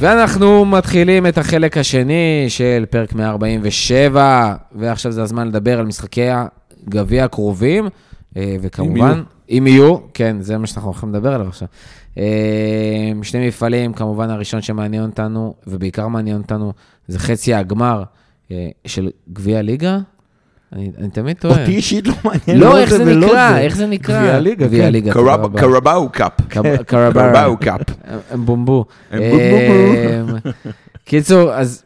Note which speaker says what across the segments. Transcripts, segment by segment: Speaker 1: ואנחנו מתחילים את החלק השני של פרק 147, ועכשיו זה הזמן לדבר על משחקי הגביע הקרובים, אה,
Speaker 2: אם
Speaker 1: וכמובן, אם יהיו, כן, זה מה שאנחנו הולכים לדבר עליו עכשיו. אה, שני מפעלים, כמובן הראשון שמעניין אותנו, ובעיקר מעניין אותנו, זה חצי הגמר אה, של גביע הליגה. אני, אני תמיד טועה.
Speaker 2: אותי אישית לא מעניין.
Speaker 1: לא, איך זה
Speaker 2: ולא
Speaker 1: נקרא? איך זה נקרא?
Speaker 2: גביע הליגה,
Speaker 1: גביע
Speaker 2: כן.
Speaker 1: הליגה, תודה
Speaker 3: קרב-
Speaker 1: רבה.
Speaker 3: קרבאו קאפ.
Speaker 1: קרב- קרבאו. כן.
Speaker 3: קרבאו קאפ.
Speaker 1: הם בומבו.
Speaker 2: הם בומבו.
Speaker 1: אמ, קיצור, אז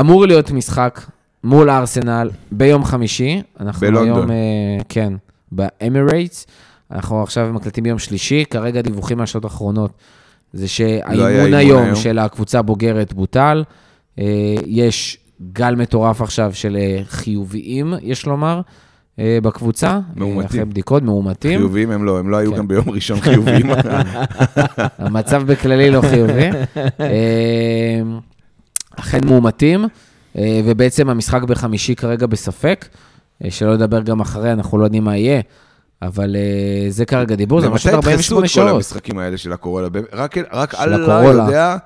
Speaker 1: אמור להיות משחק מול ארסנל ביום חמישי. אנחנו
Speaker 3: בלונדון.
Speaker 1: היום, אה, כן, באמירייטס. אנחנו עכשיו מקלטים ביום שלישי, כרגע דיווחים מהשעות האחרונות זה שהאימון
Speaker 3: לא אימון
Speaker 1: היום
Speaker 3: היום.
Speaker 1: של הקבוצה הבוגרת בוטל. אה, יש גל מטורף עכשיו של אה, חיוביים, יש לומר, אה, בקבוצה. אה,
Speaker 3: מאומתים.
Speaker 1: אחרי בדיקות, מאומתים.
Speaker 3: חיוביים הם לא, הם לא היו
Speaker 1: כן.
Speaker 3: גם ביום ראשון חיוביים.
Speaker 1: המצב בכללי לא חיובי. אה, אכן מומתים, אה, ובעצם המשחק בחמישי כרגע בספק, אה, שלא לדבר גם אחרי, אנחנו לא יודעים מה יהיה, אבל אה, זה כרגע דיבור, זה
Speaker 3: למתי
Speaker 1: משהו
Speaker 3: ידחסו
Speaker 1: 48
Speaker 3: את כל
Speaker 1: שעות.
Speaker 3: המשחקים האלה של הקורונה? באמת, רק- רק
Speaker 1: של
Speaker 3: אללה
Speaker 1: הקורולה.
Speaker 3: יודע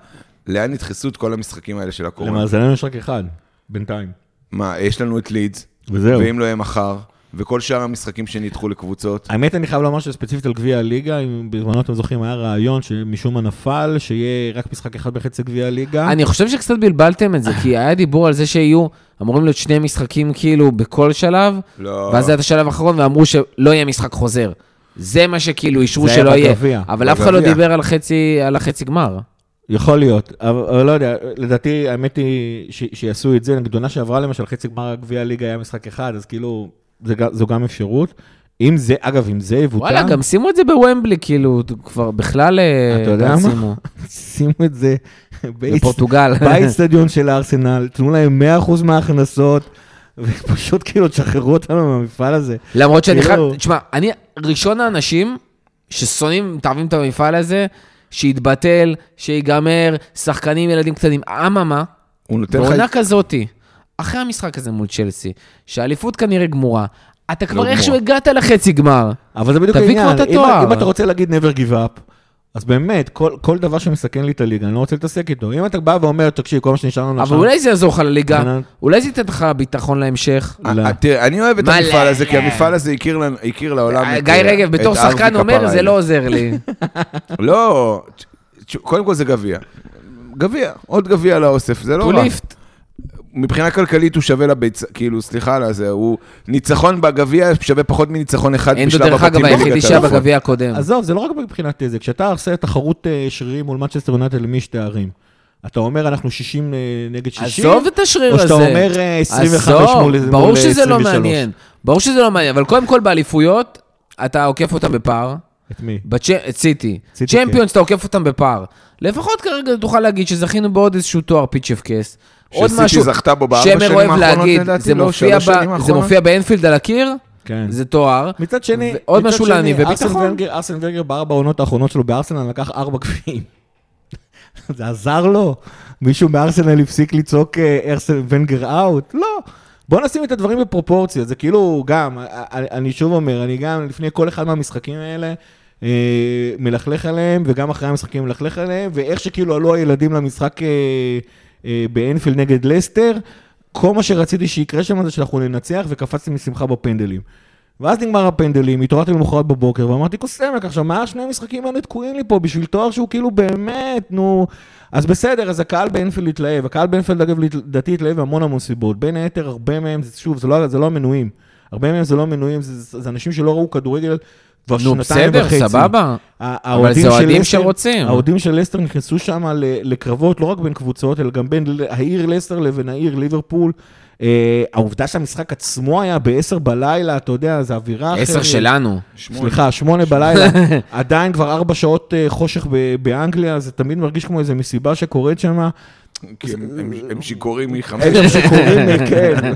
Speaker 3: לאן ידחסו את כל המשחקים האלה של הקורונה.
Speaker 2: למאזננו יש רק אחד, בינתיים.
Speaker 3: מה, יש לנו את לידס,
Speaker 2: וזהו.
Speaker 3: ואם לא יהיה מחר, וכל שאר המשחקים שנדחו לקבוצות.
Speaker 2: האמת, אני חייב לומר שספציפית על גביע הליגה, אם בזמנו אתם זוכרים, היה רעיון שמשום מה נפל, שיהיה רק משחק אחד בחצי גביע הליגה.
Speaker 1: אני חושב שקצת בלבלתם את זה, כי היה דיבור על זה שיהיו, אמורים להיות שני משחקים כאילו בכל שלב,
Speaker 3: לא.
Speaker 1: ואז זה היה את השלב האחרון, ואמרו שלא יהיה משחק חוזר. זה מה שכאילו אישרו
Speaker 2: זה היה
Speaker 1: שלא יהיה.
Speaker 2: בגביע.
Speaker 1: אבל אף אחד לא
Speaker 3: בגביע.
Speaker 1: דיבר על חצי- על החצי גמר.
Speaker 2: יכול להיות, אבל, אבל לא יודע, לדעתי, האמת היא ש, שיעשו את זה, נגיד עונה שעברה למשל, חצי גמר גביע הליגה היה משחק אחד, אז כאילו, זה, גם- זו גם אפשרות. אם זה, אגב, אם זה יבוטל,
Speaker 1: וואלה, גם שימו את זה בוומבלי, כאילו, כבר בכלל... אה,
Speaker 2: אתה יודע מה?
Speaker 1: שימו.
Speaker 2: שימו את זה באיצ-
Speaker 1: בפורטוגל.
Speaker 2: באיצטדיון של הארסנל, תנו להם 100% מההכנסות, ופשוט כאילו תשחררו אותנו מהמפעל הזה.
Speaker 1: למרות שאני חייב...
Speaker 2: כאילו-
Speaker 1: תשמע, אני ראשון האנשים ששונאים, מתערבים את המפעל הזה, שיתבטל, שיגמר, שחקנים, ילדים קטנים. אממה,
Speaker 3: הוא נותן לך...
Speaker 1: בעונה כזאתי, אחרי המשחק הזה מול צ'לסי, שהאליפות כנראה גמורה,
Speaker 2: לא
Speaker 1: אתה כבר
Speaker 3: גמורה.
Speaker 1: איכשהו הגעת לחצי גמר.
Speaker 2: אבל זה בדיוק
Speaker 1: תביא כבר
Speaker 2: העניין.
Speaker 1: את
Speaker 2: אם-
Speaker 1: התואר.
Speaker 2: אם אתה רוצה להגיד never give up, אז באמת, כל, כל דבר שמסכן לי את הליגה, אני לא רוצה להתעסק איתו. אם אתה בא ואומר, תקשיב, כל מה שנשאר לנו
Speaker 1: אבל
Speaker 2: עכשיו...
Speaker 1: אולי זה יעזור לך לליגה,
Speaker 2: מבחינת-
Speaker 1: אולי זה ייתן לך ביטחון להמשך.
Speaker 2: לא.
Speaker 3: אה, תראה, אני אוהב את
Speaker 1: מה
Speaker 3: המפעל
Speaker 1: לא?
Speaker 3: הזה, כי המפעל הזה הכיר לנו- הכיר לעולם את...
Speaker 1: גיא
Speaker 3: אה,
Speaker 1: רגב, בתור
Speaker 3: את ארווי
Speaker 1: שחקן אומר,
Speaker 3: כפרה
Speaker 1: זה
Speaker 3: אלי.
Speaker 1: לא עוזר לי.
Speaker 3: לא, תש- קודם כל זה גביע. גביע, עוד גביע לאוסף, זה לא רע.
Speaker 1: טוליפט.
Speaker 3: מבחינה כלכלית הוא שווה לביצה, כאילו, סליחה על הזה, הוא ניצחון בגביע שווה פחות מניצחון אחד
Speaker 1: אין זה
Speaker 3: בשלב
Speaker 1: דרך
Speaker 3: הבתים לא נכון.
Speaker 1: אגב היחידי
Speaker 3: בליגת
Speaker 1: שהיה
Speaker 3: האלופות.
Speaker 1: בגביע הקודם.
Speaker 2: עזוב, זה לא רק מבחינת זה, כשאתה עושה תחרות אה, שרירים מול מצ'סטר יונטל למי יש תארים, אתה אומר, אנחנו 60 אה, נגד 60,
Speaker 1: עזוב את השריר
Speaker 2: או
Speaker 1: הזה.
Speaker 2: שאתה אומר אה, 25
Speaker 1: עזוב,
Speaker 2: מול אה, 23.
Speaker 1: ברור שזה לא מעניין. ברור שזה לא מעניין, אבל קודם כל באליפויות, אתה עוקף אותם בפער.
Speaker 2: את מי?
Speaker 1: בצ'- את סיטי.
Speaker 2: סיטי, כן.
Speaker 1: צ'מפיונס, אתה עוקף אותם בפער. לפחות כרגע תוכל להגיד שזכינו בעוד איזשהו תואר פיץ' אף קייס. עוד
Speaker 3: שסיטי
Speaker 1: משהו,
Speaker 3: זכתה בו בארבע
Speaker 1: שמר
Speaker 3: שנים
Speaker 1: אוהב
Speaker 3: האחרונות,
Speaker 1: להגיד,
Speaker 3: לדעתי,
Speaker 1: זה
Speaker 3: לא,
Speaker 1: מופיע
Speaker 3: שלוש
Speaker 1: ב-
Speaker 3: שנים
Speaker 1: זה
Speaker 3: האחרונות.
Speaker 1: מופיע באנפילד על הקיר,
Speaker 2: כן.
Speaker 1: זה תואר.
Speaker 2: מצד שני,
Speaker 1: ועוד
Speaker 2: מצד
Speaker 1: משהו
Speaker 2: שני,
Speaker 1: להניב,
Speaker 2: ארסן
Speaker 1: וביטחון.
Speaker 2: ונגר- ארסן ונגר בארבע העונות האחרונות שלו בארסנל לקח ארבע גביעים. זה עזר לו? מישהו מארסנל הפסיק לצעוק אה, ארסן ונגר אאוט? לא. בוא נשים את הדברים בפרופורציה, זה כאילו גם, א- א- אני שוב אומר, אני גם לפני כל אחד מהמשחקים האלה אה, מלכלך עליהם, וגם אחרי המשחקים מלכלך עליהם, ואיך שכאילו עלו הילדים למשחק אה, אה, באנפילד נגד לסטר, כל מה שרציתי שיקרה שם זה שאנחנו ננצח, וקפצתי משמחה בפנדלים. ואז נגמר הפנדלים, התעוררתי למחרת בבוקר, ואמרתי, קוסמק, עכשיו, מה השני המשחקים האלה תקועים לי פה בשביל תואר שהוא כאילו באמת, נו... אז בסדר, אז הקהל באנפילד התלהב. הקהל באנפילד, אגב, לדעתי התלהב מהמון המון סיבות. בין היתר, הרבה מהם, זה- שוב, זה לא, זה לא המנויים. הרבה מהם זה לא המנויים, זה, זה, זה אנשים שלא ראו כדורגל כבר
Speaker 1: נו,
Speaker 2: שנתיים וחצי.
Speaker 1: בסדר, סבבה.
Speaker 2: ה-
Speaker 1: אבל זה
Speaker 2: האוהדים של
Speaker 1: אוהדים
Speaker 2: לסטר-
Speaker 1: שרוצים.
Speaker 2: האוהדים של לסטר נכנסו שם ל- לקרבות לא רק בין קבוצות, אלא גם בין ל- העיר לסטר לבין העיר ליברפול. אה, העובדה שהמשחק עצמו היה ב-10 בלילה, אתה יודע, זו אווירה אחרת.
Speaker 1: עשר שלנו.
Speaker 2: סליחה, שמונה בלילה, עדיין כבר ארבע שעות אה, חושך ב- באנגליה, זה תמיד מרגיש כמו איזו מסיבה שקורית שם.
Speaker 3: כי הם- הם- הם שיכורים מחמש.
Speaker 2: אלה שקוראים, אה, כן.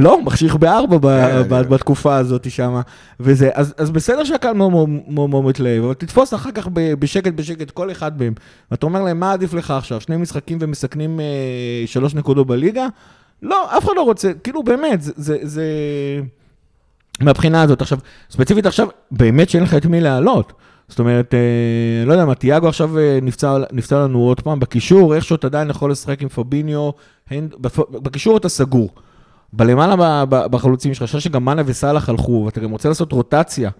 Speaker 2: לא, הוא מחשיך בארבע ב-
Speaker 3: כן,
Speaker 2: ב-
Speaker 3: כן.
Speaker 2: בתקופה הזאת שם. וזה, אז אז בסדר שהקהל מאוד מאוד- מאוד מאוד מתלהב, אבל תתפוס אחר כך ב- בשקט בשקט כל אחד מהם. ואתה אומר להם, מה עדיף לך עכשיו? שני משחקים ומסכנים אה, שלוש נקודות בליגה? לא, אף אחד לא רוצה, כאילו באמת, זה- זה... זה- מהבחינה הזאת. עכשיו, ספציפית עכשיו, באמת שאין לך את מי להעלות. זאת אומרת, אה, לא יודע מה, תיאגו עכשיו אה, נפצע, נפצע לנו עוד פעם. בקישור, איכשהו אתה עדיין יכול לשחק עם פביניו, הנד- בפ- בקישור אתה סגור. בלמעלה ב- ב- בחלוצים שלך, אני חושב שגם מאנה וסאלח הלכו, ואתה גם רוצה לעשות רוטציה.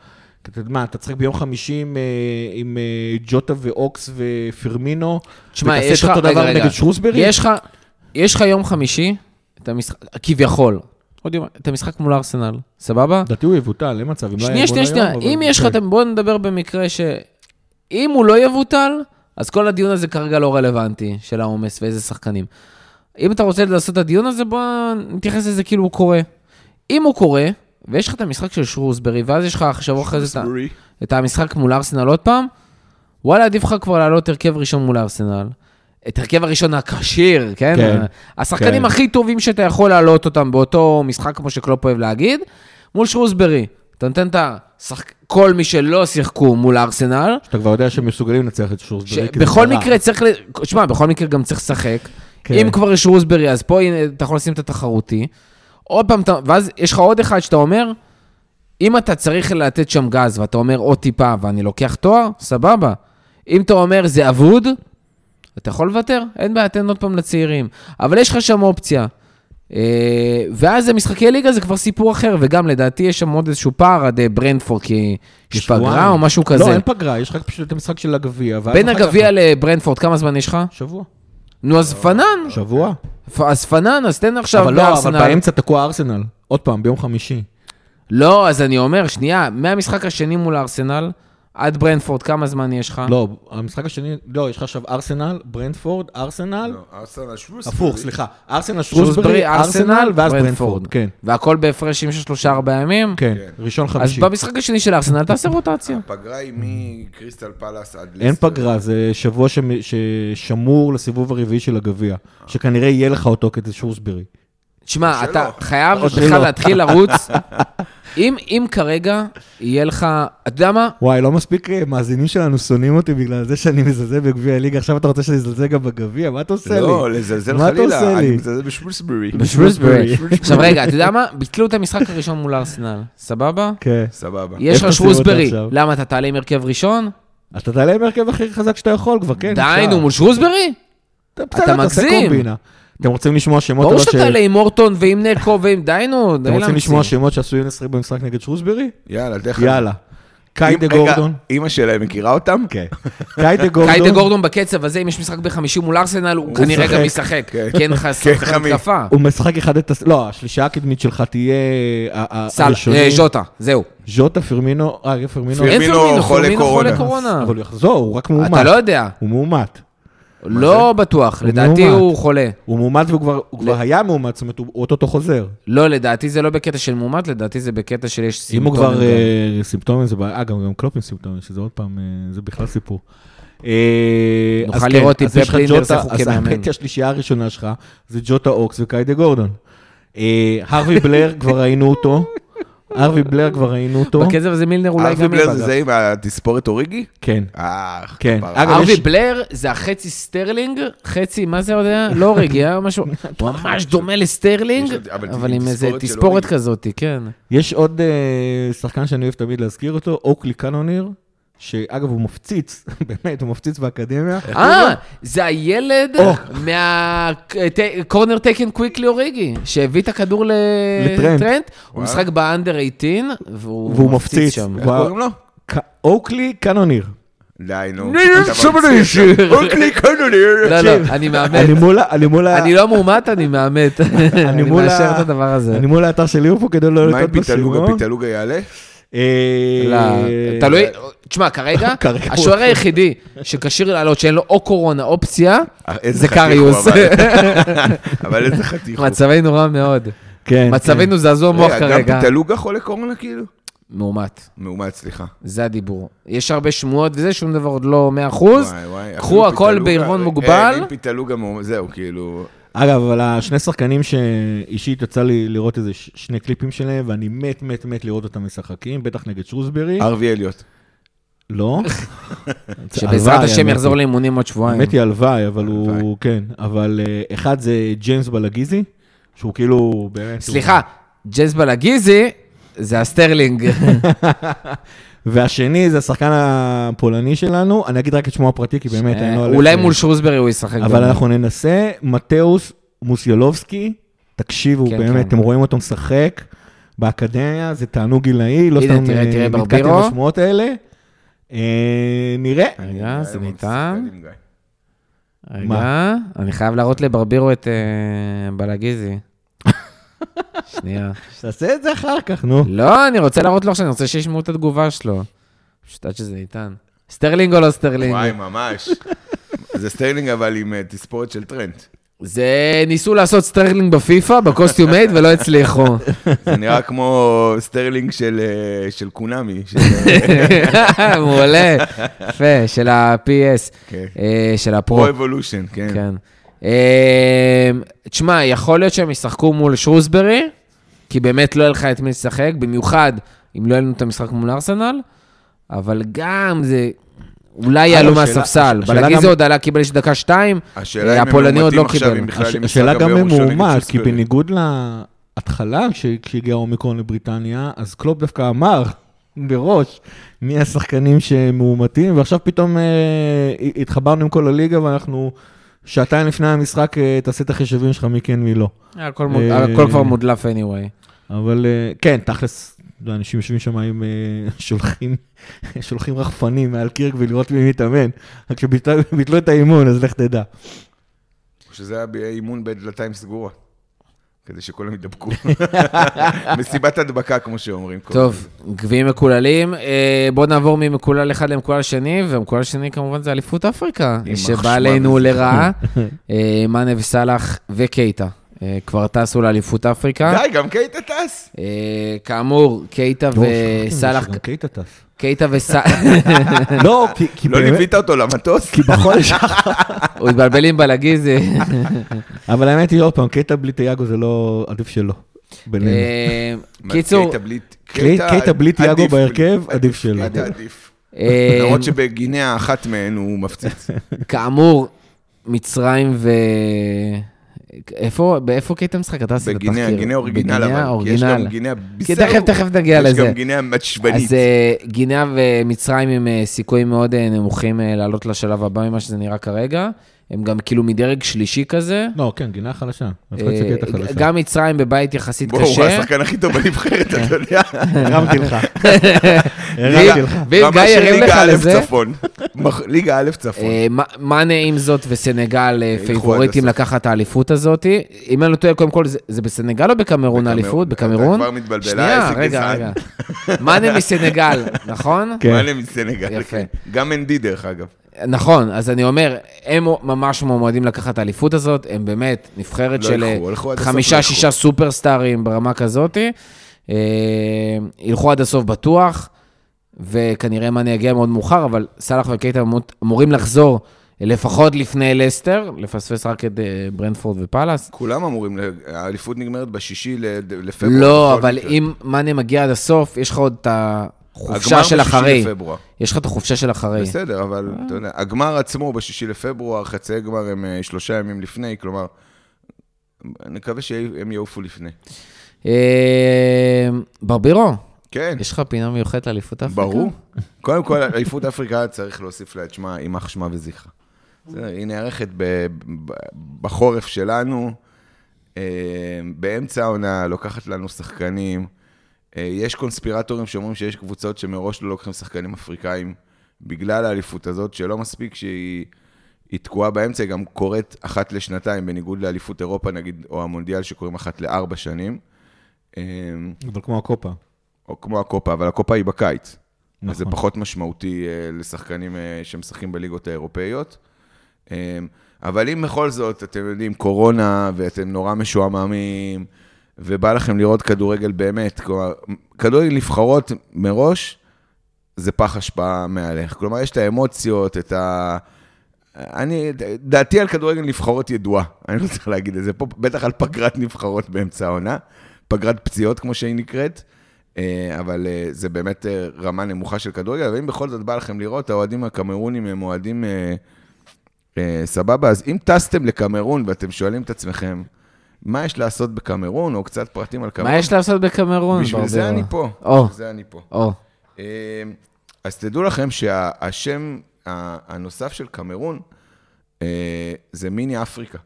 Speaker 2: כי אתה יודע מה, אתה תשחק ביום חמישי עם, אה, עם אה, ג'וטה ואוקס ופרמינו,
Speaker 1: תשמע,
Speaker 2: ותעשה
Speaker 1: יש
Speaker 2: את
Speaker 1: לך...
Speaker 2: אותו
Speaker 1: רגע,
Speaker 2: דבר
Speaker 1: רגע.
Speaker 2: נגד שרוסברי?
Speaker 1: יש לך- יש לך יום חמישי, את המשחק, כביכול, עוד יום, את המשחק מול ארסנל, סבבה?
Speaker 2: לדעתי הוא יבוטל, אין מצב. אם לא היה
Speaker 1: שנייה,
Speaker 2: אתמול
Speaker 1: שנייה, שנייה.
Speaker 2: היום, אבל-
Speaker 1: אם יש לך,
Speaker 2: כן.
Speaker 1: את- בוא נדבר במקרה ש... אם הוא לא יבוטל, אז כל הדיון הזה כרגע לא רלוונטי, של העומס ואיזה שחקנים. אם אתה רוצה לעשות את הדיון הזה, בוא נתייחס לזה כאילו הוא קורה. אם הוא קורה, ויש לך את המשחק של שרוסברי, ואז יש לך עכשיו אחרי זה את ה- את המשחק מול ארסנל עוד פעם, וואלה, עדיף לך כבר לעלות הרכב ראשון מול ארסנל. את הרכב הראשון הכשיר, כן?
Speaker 2: כן,
Speaker 1: השחקנים
Speaker 2: כן.
Speaker 1: הכי טובים שאתה יכול להעלות אותם באותו משחק, כמו שקלופ אוהב להגיד, מול שרוסברי. אתה נותן את השחק... כל מי שלא שיחקו מול ארסנל,
Speaker 2: שאתה כבר יודע שהם מסוגלים לנצח את שורסברי. כי זה
Speaker 1: שבכל
Speaker 2: קרה.
Speaker 1: מקרה צריך, ל... שמע, בכל מקרה גם צריך לשחק.
Speaker 2: כן.
Speaker 1: אם כבר יש רוסברי, אז פה הנה, אתה יכול לשים את התחרותי. עוד פעם, אתה- ואז יש לך עוד אחד שאתה אומר, אם אתה צריך לתת שם גז, ואתה אומר עוד טיפה, ואני לוקח תואר, סבבה. אם אתה אומר זה אבוד, אתה יכול לוותר, אין בעיה, תן עוד פעם לצעירים. אבל יש לך שם אופציה. אה, ואז המשחקי ליגה זה כבר סיפור אחר, וגם לדעתי יש שם עוד איזשהו פער עד אה, ברנדפורד, כי יש פגרה
Speaker 2: שבועיים.
Speaker 1: או משהו כזה.
Speaker 2: לא, אין פגרה, יש רק פשוט את המשחק של הגביע. ואז
Speaker 1: בין
Speaker 2: אחר כך-
Speaker 1: הגביע לברנדפורד, כמה זמן יש לך?
Speaker 2: שבוע.
Speaker 1: נו, אז פנן,
Speaker 2: שבוע.
Speaker 1: פ- אז פנן, אז תן עכשיו
Speaker 2: אבל לא, אבל
Speaker 1: לארסנל.
Speaker 2: באמצע תקוע ארסנל. עוד פעם, ביום חמישי.
Speaker 1: לא, אז אני אומר, שנייה, מהמשחק השני מול ארסנל, עד ברנפורד, כמה זמן יש לך?
Speaker 2: לא, המשחק השני, לא, יש לך עכשיו ארסנל, ברנדפורד,
Speaker 1: לא.
Speaker 2: ארסנל,
Speaker 3: לא,
Speaker 2: הפוך, סליחה. ארסנל, שרוסברי, ארסנל, ואז ברנדפורד. כן,
Speaker 1: והכל בהפרשים של שלושה-ארבעה ימים?
Speaker 2: כן, ראשון
Speaker 1: אז
Speaker 2: חמישי.
Speaker 1: במשחק השני של ארסנל תעשה רוטציה.
Speaker 3: הפגרה היא מקריסטל פלאס עד
Speaker 2: אין
Speaker 3: לסטר.
Speaker 2: פגרה, זה שבוע שמ- ששמור לסיבוב הרביעי של הגביע, שכנראה יהיה לך אותו כדי שורסברי.
Speaker 1: תשמע,
Speaker 3: שלא.
Speaker 1: אתה חייב
Speaker 2: או
Speaker 1: בכלל
Speaker 2: שלא.
Speaker 1: להתחיל לרוץ. אם אם כרגע יהיה לך, אתה יודע מה?
Speaker 2: וואי, לא מספיק אה, מאזינים שלנו שונאים אותי בגלל זה שאני מזלזל בגביע הליגה, עכשיו אתה רוצה שאני אזלזל גם בגביע? מה אתה עושה לי?
Speaker 3: לא, לזלזל
Speaker 2: מה אתה עושה
Speaker 3: חלילה, אני
Speaker 2: לי?
Speaker 3: מזלזל בשרוסברי.
Speaker 2: בשרוסברי.
Speaker 1: עכשיו רגע, אתה יודע מה? ביטלו את המשחק הראשון מול ארסנל, סבבה?
Speaker 2: כן.
Speaker 3: סבבה.
Speaker 1: יש לך
Speaker 2: איך תשימו אותו
Speaker 1: שרוסברי,
Speaker 2: עכשיו?
Speaker 1: למה אתה תעלה עם הרכב ראשון?
Speaker 2: אתה תעלה עם ההרכב הכי חזק שאתה יכול כבר, כן?
Speaker 1: די,
Speaker 2: אפשר.
Speaker 1: נו, מול שרוסברי?
Speaker 2: בסדר,
Speaker 1: אתה
Speaker 2: תעשה
Speaker 1: מגזים.
Speaker 2: קומבינה. אתם רוצים לשמוע שמות
Speaker 1: ברור
Speaker 2: אבל
Speaker 1: שאתה
Speaker 2: ש-
Speaker 1: תעלה עם אורטון ועם נקו ועם די, נו, די
Speaker 2: אתם רוצים
Speaker 1: להמציא.
Speaker 2: לשמוע שמות שעשויים לשחק במשחק נגד שרוסברי?
Speaker 3: יאללה, תכף.
Speaker 2: יאללה. קיידה גורדון.
Speaker 3: אימא שלהם מכירה אותם?
Speaker 2: כן. קיידה
Speaker 1: קיידה
Speaker 2: גורדון.
Speaker 1: גורדון בקצב הזה, אם יש משחק בחמישי מול ארסנל, הוא
Speaker 2: הוא
Speaker 1: כנראה גם
Speaker 2: משחק.
Speaker 1: ישחק,
Speaker 3: כן.
Speaker 1: כי אין לך שחקן
Speaker 3: חכמים.
Speaker 1: התקפה.
Speaker 2: הוא משחק אחד את... הס- לא, השלישייה הקדמית שלך תהיה ה- ה-
Speaker 1: סל,
Speaker 2: הראשונים.
Speaker 1: אה, ז'וטה, זהו.
Speaker 2: ז'וטה, פרמינו, אה, רגע, פרמינו.
Speaker 3: פרמינו,
Speaker 1: אין פרמינו,
Speaker 3: חולה
Speaker 1: פרמינו חולה
Speaker 3: קורונה.
Speaker 1: קורונה.
Speaker 2: אבל הוא יחזור, הוא רק מאומת.
Speaker 1: אתה לא יודע,
Speaker 2: הוא מאומת.
Speaker 1: לא בטוח,
Speaker 2: הוא
Speaker 1: לדעתי
Speaker 2: מאומת.
Speaker 1: הוא חולה.
Speaker 2: הוא מאומת והוא כבר- הוא כבר היה מאומת, זאת אומרת, הוא אוטוטו חוזר.
Speaker 1: לא, לדעתי זה לא בקטע של מומת, לדעתי זה בקטע של יש
Speaker 2: אם
Speaker 1: סימפטומים.
Speaker 2: הוא כבר
Speaker 1: גם.
Speaker 2: אה, סימפטומים, זה בעיה, אה, גם גם קלופ עם סימפטומים, שזה עוד פעם, אה, זה בכלל סיפור. אה,
Speaker 1: נוכל
Speaker 2: אז כן,
Speaker 1: לראות אם
Speaker 2: אז יש
Speaker 1: פפ
Speaker 2: לך
Speaker 1: לינדרס
Speaker 2: ג'וטה-
Speaker 1: איך הוא
Speaker 2: אז
Speaker 1: כמאמן.
Speaker 2: האמת היא השלישייה הראשונה שלך, זה ג'וטה אוקס וקיידה גורדון. אה, הרווי בלר, כבר ראינו אותו. הרווי בלר, כבר ראינו אותו.
Speaker 1: בקצב הזה מילנר אולי
Speaker 3: ארווי
Speaker 1: גם
Speaker 3: בלר
Speaker 1: יהיה
Speaker 3: זה
Speaker 1: בגר.
Speaker 3: זה עם לא התספורת אוריגי?
Speaker 2: כן.
Speaker 3: אה,
Speaker 2: כן.
Speaker 3: כפרה.
Speaker 2: אגב,
Speaker 1: ארווי
Speaker 2: יש-
Speaker 1: בלר זה החצי סטרלינג, חצי, מה זה עוד היה? לא אוריגי, היה משהו, הוא ממש דומה לסטרלינג,
Speaker 3: יש לו- אבל
Speaker 1: אבל עם
Speaker 3: עם
Speaker 1: איזה
Speaker 3: תספורת של
Speaker 1: תספורת
Speaker 3: אוריגי.
Speaker 1: כזאת, כן.
Speaker 2: יש עוד אה, שחקן שאני אוהב תמיד להזכיר אותו, אוקלי קאנוניר, שאגב, הוא מפציץ, באמת, הוא מפציץ באקדמיה.
Speaker 1: אה, זה הילד
Speaker 2: או.
Speaker 1: מהקורנר טקן קוויקלי אוריגי, שהביא את הכדור ל-
Speaker 2: לטרנט.
Speaker 1: לטרנט, הוא
Speaker 3: וואלה.
Speaker 1: משחק באנדר 18, והוא
Speaker 2: והוא
Speaker 1: מפציץ
Speaker 2: מפציץ.
Speaker 1: שם.
Speaker 3: איך
Speaker 2: וואו.
Speaker 3: קוראים לו?
Speaker 2: ק- אוקלי קאנוניר.
Speaker 3: די, נו.
Speaker 1: נו, נו,
Speaker 3: אתה
Speaker 1: שוב
Speaker 3: ממציא
Speaker 1: אני
Speaker 3: שם.
Speaker 1: שיר.
Speaker 3: אוקלי קונוניר.
Speaker 1: לא, לא,
Speaker 2: תקשיב,
Speaker 1: אוקיי, אני מאמת.
Speaker 2: אני מול ה- אני מול ה-
Speaker 1: אני לא מאומת, אני מאמת. אני
Speaker 2: מול ה-
Speaker 1: מאשר את הדבר הזה.
Speaker 2: אני מול האתר של ליברפול כדי לא
Speaker 3: מה עם
Speaker 2: לטעות
Speaker 3: פיטלוגה?
Speaker 2: בסימון.
Speaker 3: פיטלוגה יעלה?
Speaker 2: אה,
Speaker 1: לא, תלוי, תשמע, כרגע,
Speaker 2: כרגע הוא-
Speaker 1: השוער היחידי שכשיר לעלות, שאין לו או קורונה או פציעה,
Speaker 3: אה, איזה
Speaker 1: זה
Speaker 3: חתיך הוא,
Speaker 1: קריוס.
Speaker 3: אבל- אבל איזה חתיך הוא.
Speaker 1: מצבנו רע מאוד.
Speaker 2: כן.
Speaker 1: מצבנו זעזוע מוח
Speaker 3: רגע,
Speaker 1: כרגע.
Speaker 3: אה, גם פיטלוגה חולה קורונה כאילו?
Speaker 1: מאומת,
Speaker 3: מאומת, סליחה.
Speaker 1: זה הדיבור. יש הרבה שמועות וזה, שום דבר עוד לא 100%.
Speaker 3: וואי, וואי,
Speaker 1: קחו
Speaker 3: אפילו
Speaker 1: הכל
Speaker 3: פיטלוגה-
Speaker 1: בעירבון
Speaker 3: אה,
Speaker 1: מוגבל.
Speaker 3: אם פיטלוגה, מאומת- זהו, כאילו...
Speaker 2: כן. אגב, אבל השני שחקנים שאישית יצא לי לראות איזה ש- שני קליפים שלהם, ואני מת, מת, מת לראות אותם משחקים, בטח נגד שרוסברי.
Speaker 3: ארווי אליוט.
Speaker 2: לא.
Speaker 1: שבעזרת
Speaker 2: הלוואי,
Speaker 1: השם
Speaker 2: האמת
Speaker 1: יחזור
Speaker 2: היא.
Speaker 1: לאימונים עוד שבועיים.
Speaker 2: האמת היא הלוואי, אבל
Speaker 3: הלוואי.
Speaker 2: הוא, כן. אבל אה, אחד זה ג'יימס בלגיזי, שהוא כאילו באמת... הוא-
Speaker 1: סליחה, ג'ז בלגיזי זה הסטרלינג.
Speaker 2: והשני זה השחקן הפולני שלנו, אני אגיד רק את שמו הפרטי, כי באמת, אני לא...
Speaker 1: אה, אולי
Speaker 2: הולך-
Speaker 1: מול שרוסברי הוא ישחק.
Speaker 2: אבל
Speaker 1: גם.
Speaker 2: אנחנו ננסה, מתאוס מוסיולובסקי, תקשיבו,
Speaker 1: כן,
Speaker 2: באמת,
Speaker 1: כן.
Speaker 2: אתם רואים אותו משחק באקדמיה, זה תענוג גילאי, לא
Speaker 1: הנה,
Speaker 2: סתם
Speaker 1: תראה,
Speaker 2: אה,
Speaker 1: תראה,
Speaker 2: נתקעתי
Speaker 1: ברבירו.
Speaker 2: בשמועות האלה. אה, נראה.
Speaker 1: רגע, זה ניתן.
Speaker 3: מסתדר עם אה. גיא.
Speaker 1: רגע, אני חייב להראות לברבירו את אה, בלגיזי. שנייה.
Speaker 2: תעשה את זה אחר כך, נו.
Speaker 1: לא, אני רוצה להראות לו עכשיו, אני רוצה שישמעו את התגובה שלו. פשוט עד שזה ניתן. סטרלינג או לא סטרלינג?
Speaker 3: וואי, ממש. זה סטיילינג אבל עם אה, תספורת של טרנט.
Speaker 1: זה, ניסו לעשות סטרלינג בפיפא, בקוסטיומייט, ולא הצליחו.
Speaker 3: זה נראה כמו סטרלינג של, אה, של קונאמי. של, אה,
Speaker 1: מעולה. יפה, של ה-PS,
Speaker 3: כן.
Speaker 1: אה, של הפרו.
Speaker 3: פרו אבולושן, כן.
Speaker 1: כן. אה, תשמע, יכול להיות שהם ישחקו מול שרוסברי, כי באמת לא יהיה לך את מי לשחק, במיוחד אם לא היה לנו את המשחק מול ארסנל, אבל גם זה...
Speaker 3: אה,
Speaker 1: אולי יעלו
Speaker 3: לא,
Speaker 2: השאלה-
Speaker 1: מהספסל.
Speaker 2: השאלה
Speaker 1: בלגי זה
Speaker 2: גם-
Speaker 1: עוד עלה, קיבל יש דקה שתיים,
Speaker 3: השאלה אם הם
Speaker 1: הפולני עוד
Speaker 3: מאומתים
Speaker 1: לא
Speaker 3: עכשיו,
Speaker 1: קיבל.
Speaker 3: אם בכלל
Speaker 2: הש-
Speaker 3: עם משחק
Speaker 2: השאלה גם
Speaker 3: ביום
Speaker 2: אם
Speaker 3: ראשון
Speaker 2: הוא
Speaker 3: נגד
Speaker 2: מאומץ, כי
Speaker 3: שוסטרי.
Speaker 2: בניגוד להתחלה, כש- כשהגיע האומיקרון לבריטניה, אז קלופ דווקא אמר בראש מי השחקנים שמאומתים, ועכשיו פתאום אה, הת- התחברנו עם כל הליגה ואנחנו שעתיים לפני המשחק, אה, תעשה את החישובים שלך מי כן מי לא.
Speaker 1: הכל מוד-
Speaker 2: אה,
Speaker 1: הכל כבר מודלף anyway.
Speaker 2: אבל אה, כן, תכלס, אנשים יושבים שם עם אה, שולחים, שולחים רחפנים מעל קירק ולראות מי מתאמן. רק שביטלו את האימון, אז לך תדע.
Speaker 3: שזה היה באימון בדלתיים סגורה. כדי שכולם ידבקו. מסיבת הדבקה, כמו שאומרים. כל
Speaker 1: טוב, גביעים מקוללים. אה, בואו נעבור ממקולל אחד למקולל שני, ומקולל שני כמובן זה אליפות אפריקה,
Speaker 3: עם
Speaker 1: שבאה
Speaker 3: החשמל
Speaker 1: עלינו
Speaker 3: הזה.
Speaker 1: לרעה. אה, מאנה וסאלח וקייטה אה, כבר טסו לאליפות אפריקה.
Speaker 3: די, גם קייטה טס.
Speaker 1: אה, כאמור, קייטה וסאלח...
Speaker 2: גם לא, קייטה טס.
Speaker 1: קייטה וסאלח...
Speaker 2: לא, כי- כי
Speaker 3: לא
Speaker 2: באמת...
Speaker 3: ליווית אותו למטוס?
Speaker 2: כי בחודש האחרון...
Speaker 1: הוא התבלבל עם בלגיזי.
Speaker 3: כן,
Speaker 2: אבל האמת היא, עוד פעם, קטע בלי תיאגו זה לא... עדיף שלא. בינינו.
Speaker 1: אה,
Speaker 3: מה,
Speaker 1: קיצור,
Speaker 3: כן. קייטה בלי-
Speaker 2: קלי- קייטה בלי
Speaker 3: עדיף
Speaker 2: תיאגו
Speaker 3: בלי-
Speaker 2: בהרכב, עדיף שלא.
Speaker 3: קייטה עדיף.
Speaker 1: אה,
Speaker 3: למרות שבגינאה אחת מהן הוא מפציץ.
Speaker 1: כאמור, מצרים ו... איפה, באיפה קייטה משחק? אתה עשית את התחקיר.
Speaker 3: בגינאה, גינאה אורגינל,
Speaker 1: בגינאה,
Speaker 3: אבל. כי יש
Speaker 1: אורגינל.
Speaker 3: גם גינאה
Speaker 1: כי
Speaker 3: ביסאו.
Speaker 1: תכף, תכף נגיע לזה.
Speaker 3: יש גם גינאה
Speaker 1: אז
Speaker 3: מצ'בנית.
Speaker 1: אה, גינה ומצרים עם אה, סיכויים מאוד אה, נמוכים אה, לעלות לשלב הבא ממה שזה נראה כרגע. הם גם כאילו מדרג שלישי כזה.
Speaker 2: לא, כן, גינה חלשה. דווקא
Speaker 1: אה,
Speaker 2: קטע חלשה.
Speaker 1: גם מצרים בבית יחסית
Speaker 3: בואו, הוא
Speaker 1: קשה.
Speaker 3: השחקן הכי טוב בנבחרת, אתה יודע.
Speaker 2: הרמתי לך. הרמתי
Speaker 1: ואם
Speaker 2: לך.
Speaker 1: ואם גיא
Speaker 3: רמה של
Speaker 1: ירים לך
Speaker 3: ליגה א'
Speaker 1: לזה,
Speaker 3: צפון. מח- ליגה א' צפון.
Speaker 1: אה, מ- מאנה עם זאת וסנגל אה,
Speaker 3: עד
Speaker 1: פייבוריטים
Speaker 3: הסוף.
Speaker 1: לקחת את האליפות הזאת. אם אני לא טועה, קודם כל, זה- זה בסנגל או בקמרון האליפות? בקמרון?
Speaker 3: אתה כבר מתבלבל, אה,
Speaker 1: שנייה,
Speaker 3: איזה
Speaker 1: רגע,
Speaker 3: גזען.
Speaker 1: רגע. מאנה מסנגל, נכון?
Speaker 2: כן.
Speaker 3: מאנה מסנגל.
Speaker 1: יפה.
Speaker 3: כן. גם אנדי, דרך אגב.
Speaker 1: נכון, אז אני אומר, הם ממש מועמדים לקחת את האליפות הזאת, הם באמת נבחרת
Speaker 3: לא
Speaker 1: של אה,
Speaker 3: ילכו, הלכו עד הסוף, לא ילכו.
Speaker 1: חמישה-שישה סופרסטארים ברמה כזאתי. אה, ילכו עד הסוף בטוח, וכנראה מאני יגיע מאוד מאוחר, אבל סאלח וקייטה אמות- אמורים לחזור לפחות לפני לסטר, לפספס רק את אה, ברנדפורד ופאלאס.
Speaker 3: כולם אמורים, ל- האליפות נגמרת בשישי ל- לפברואר.
Speaker 1: לא,
Speaker 3: בכל
Speaker 1: אבל
Speaker 3: מקרה.
Speaker 1: אם מאני מגיע עד הסוף, יש לך עוד את החופשה
Speaker 3: הגמר
Speaker 1: של
Speaker 3: בשישי
Speaker 1: אחרי.
Speaker 3: לפברואר.
Speaker 1: יש לך את החופשה של אחרי. אה.
Speaker 3: בסדר, אבל אתה יודע, הגמר עצמו הוא בשישי לפברואר, חצי גמר הם אה, שלושה ימים לפני, כלומר, נקווה שהם יעופו לפני.
Speaker 1: אה, ברבירו,
Speaker 3: כן,
Speaker 1: יש לך פינה מיוחדת לאליפות אפריקה?
Speaker 3: ברור. קודם כל, אליפות אפריקה צריך להוסיף לה את שמה, יימח שמה וזכרה. בסדר, היא נערכת ב- ב- בחורף שלנו, אה, באמצע העונה, לוקחת לנו שחקנים. אה, יש קונספירטורים שאומרים שיש קבוצות שמראש לא לוקחים שחקנים אפריקאים בגלל האליפות הזאת, שלא מספיק שהיא היא תקועה באמצע, היא גם קורית אחת לשנתיים, בניגוד לאליפות אירופה, נגיד, או המונדיאל שקוראים אחת לארבע שנים. אה,
Speaker 2: אבל כמו הקופה.
Speaker 3: או כמו הקופה, אבל הקופה היא בקיץ. נכון. אז זה
Speaker 2: נכון.
Speaker 3: פחות משמעותי אה, לשחקנים אה, שמשחקים בליגות האירופאיות. אה, אבל אם בכל זאת, אתם יודעים, קורונה, ואתם נורא משועממים, ובא לכם לראות כדורגל באמת, כלומר, כדורגל נבחרות מראש, זה פח השפעה מעליך. כלומר, יש את האמוציות, את ה... אני, דעתי על כדורגל נבחרות ידועה, אני לא צריך להגיד את זה פה, בטח על פגרת נבחרות באמצע העונה, פגרת פציעות כמו שהיא נקראת, אה, אבל אה, זה באמת אה, רמה נמוכה של כדורגל, ואם בכל זאת בא לכם לראות, האוהדים הקמרונים הם אוהדים אה, אה, סבבה, אז אם טסתם לקמרון ואתם שואלים את עצמכם, מה יש לעשות בקמרון, או קצת פרטים על קמרון,
Speaker 1: מה יש לעשות בקמרון?
Speaker 3: בשביל זה
Speaker 1: ברבירו?
Speaker 3: אני פה,
Speaker 1: או,
Speaker 3: בשביל זה אני פה.
Speaker 1: או.
Speaker 3: אמ, אז תדעו לכם שהשם הנוסף של קמרון אה, זה מיני אפריקה.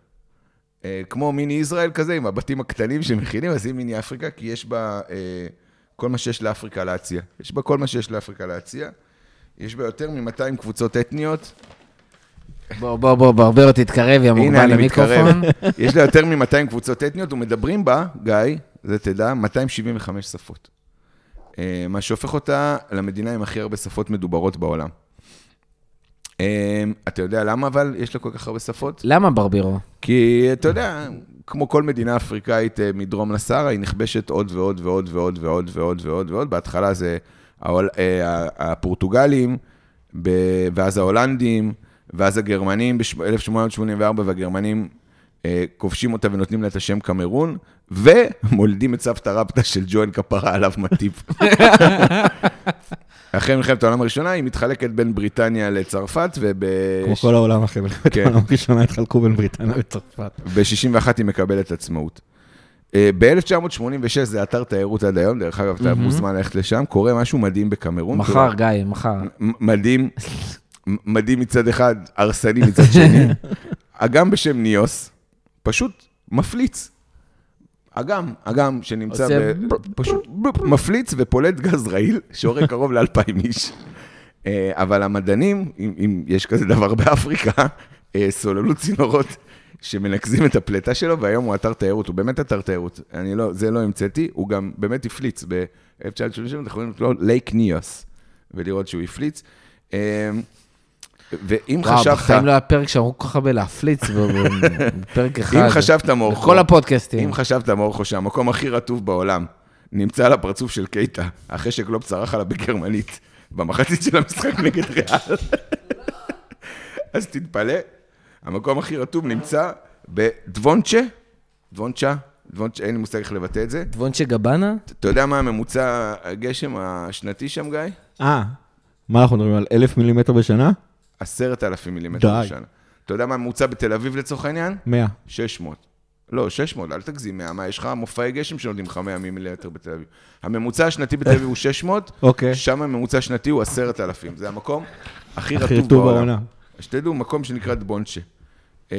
Speaker 3: אה, כמו מיני ישראל כזה, עם הבתים הקטנים שמכינים, אז היא מיני אפריקה, כי יש בה אה, כל מה שיש לאפריקה להציע. יש בה כל מה שיש לאפריקה להציע. יש בה יותר מ-200 קבוצות אתניות.
Speaker 1: בוא, בוא, בוא, ברבר, תתקרב, יא
Speaker 3: הנה,
Speaker 1: מוגבל
Speaker 3: אני מתקרב.
Speaker 1: למיקרופון.
Speaker 3: יש לה יותר מ-200 קבוצות אתניות, ומדברים בה, גיא, זה תדע, 275 שפות. אה, מה שהופך אותה למדינה עם הכי הרבה שפות מדוברות בעולם. אה, אתה יודע למה אבל יש לה כל כך הרבה שפות?
Speaker 1: למה ברבירו?
Speaker 3: כי אתה יודע, כמו כל מדינה אפריקאית אה, מדרום לסהרה, היא נכבשת עוד ועוד ועוד ועוד ועוד ועוד ועוד ועוד. בהתחלה זה ההול- אה, ה- הפורטוגלים, ב- ואז ההולנדים, ואז הגרמנים ב-1884, והגרמנים אה, כובשים אותה ונותנים לה את השם קמרון, ומולדים את סבתא רבתא של ג'ואן כפרה עליו מטיף. אחרי מלחמת העולם הראשונה, היא מתחלקת בין בריטניה לצרפת, וב...
Speaker 2: כמו כל העולם אחרי מלחמת
Speaker 3: כן.
Speaker 2: העולם הראשונה התחלקו בין בריטניה וצרפת.
Speaker 3: ב-61 היא מקבלת עצמאות. אה, ב-1986 זה אתר תיירות עד היום, דרך אגב, אתה מוזמן ללכת לשם, קורה משהו מדהים בקמרון. כאילו,
Speaker 1: מחר, גיא, מחר.
Speaker 3: מ- מדהים, מ- מדהים מצד אחד, הרסני מצד שני. אגם בשם ניוס, פשוט מפליץ. אגם, אגם שנמצא,
Speaker 1: עושה
Speaker 3: ב... פשוט מפליץ ופולט גז רעיל, שהורג קרוב לאלפיים איש. אה, אבל המדענים, אם, אם יש כזה דבר באפריקה, אה, סוללו צינורות שמנקזים את הפלטה שלו, והיום הוא אתר תיירות, הוא באמת אתר תיירות. אני לא, זה לא המצאתי, הוא גם באמת הפליץ. ב-1937 אנחנו יכולים לקרוא לו לייק ניוס, ולראות שהוא הפליץ. אה, ואם
Speaker 1: וואו,
Speaker 3: חשבת,
Speaker 1: בחיים לא היה פרק שאמרו כל כך הרבה להפליץ, ב- ב- בפרק אחד.
Speaker 3: אם חשבת מורכו,
Speaker 1: בכל הפודקאסטים.
Speaker 3: אם חשבת מורכו שהמקום הכי רטוב בעולם נמצא על הפרצוף של קייטה, אחרי שקלופ צרח עליו בגרמנית, במחצית של המשחק נגד ריאל, אז תתפלא, המקום הכי רטוב נמצא בדבונצ'ה, דבונצ'ה, דבונצ'ה, אין לי מושג איך לבטא את זה.
Speaker 1: וונצ'ה גבנה?
Speaker 3: אתה יודע מה הממוצע הגשם השנתי שם, גיא?
Speaker 2: אה, מה אנחנו מדברים על אלף מילימטר בשנה?
Speaker 3: עשרת אלפים מילימטר
Speaker 2: די.
Speaker 3: בשנה. אתה יודע מה הממוצע בתל אביב לצורך העניין?
Speaker 2: מאה.
Speaker 3: 600. לא, 600, אל תגזים, 100. מה, יש לך מופעי גשם שנותנים לך 100 מילימטר בתל אביב. הממוצע השנתי בתל אביב הוא 600,
Speaker 2: אוקיי.
Speaker 3: שם הממוצע השנתי הוא 10,000. זה המקום הכי
Speaker 2: הכי
Speaker 3: רטוב
Speaker 2: רטוב
Speaker 3: בעולם.
Speaker 2: בעולם.
Speaker 3: שתדעו, מקום שנקרא דבונצ'ה. אמ,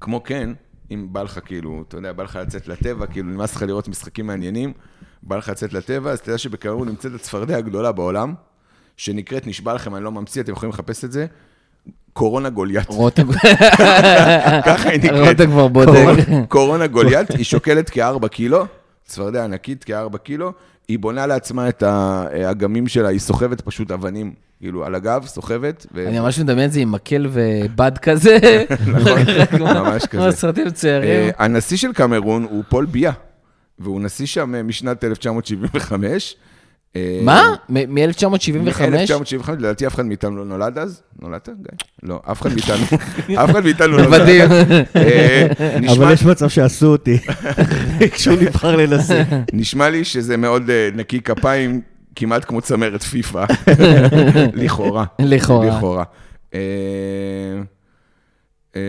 Speaker 3: כמו כן, אם בא לך כאילו, אתה יודע, בא לך לצאת לטבע, כאילו נמאס לך לראות משחקים מעניינים, בא לך לצאת לטבע, אז תדע שבקרוב נמצאת הצפרדע הגדולה בעולם, שנקראת, נשבע לכם, אני לא ממציא, אתם יכולים לחפש את זה, קורונה גוליית.
Speaker 1: רותם
Speaker 3: ככה היא נקראת.
Speaker 1: רותם כבר בודק.
Speaker 3: קורונה- קורונה גוליית, היא שוקלת כ-4 קילו, צפרדע ענקית כ-4 קילו, היא בונה לעצמה את האגמים שלה, היא סוחבת פשוט אבנים, כאילו, על הגב, סוחבת, ו...
Speaker 1: אני ממש מדמיין את זה עם מקל ובד כזה.
Speaker 3: נכון, ממש
Speaker 1: כמו
Speaker 3: כזה.
Speaker 1: סרטים
Speaker 3: אה,
Speaker 1: צעירים.
Speaker 3: הנשיא של קמרון הוא פול ביה, והוא נשיא שם אה, משנת 1975. אה,
Speaker 1: מה? מ-1975?
Speaker 3: מ-1975, לדעתי אף אחד מאיתנו לא נולד אז. נולדת, גיא? לא, אף אחד מאיתנו, אף אחד מאיתנו לא נולד.
Speaker 1: מוודאים.
Speaker 3: אה, נשמע
Speaker 2: אבל יש מצב שעשו אותי, כשהוא נבחר לנשיא.
Speaker 3: נשמע לי שזה מאוד אה, נקי כפיים, כמעט כמו צמרת פיפא. לכאורה.
Speaker 1: לכאורה.
Speaker 3: לכאורה. אה, אה,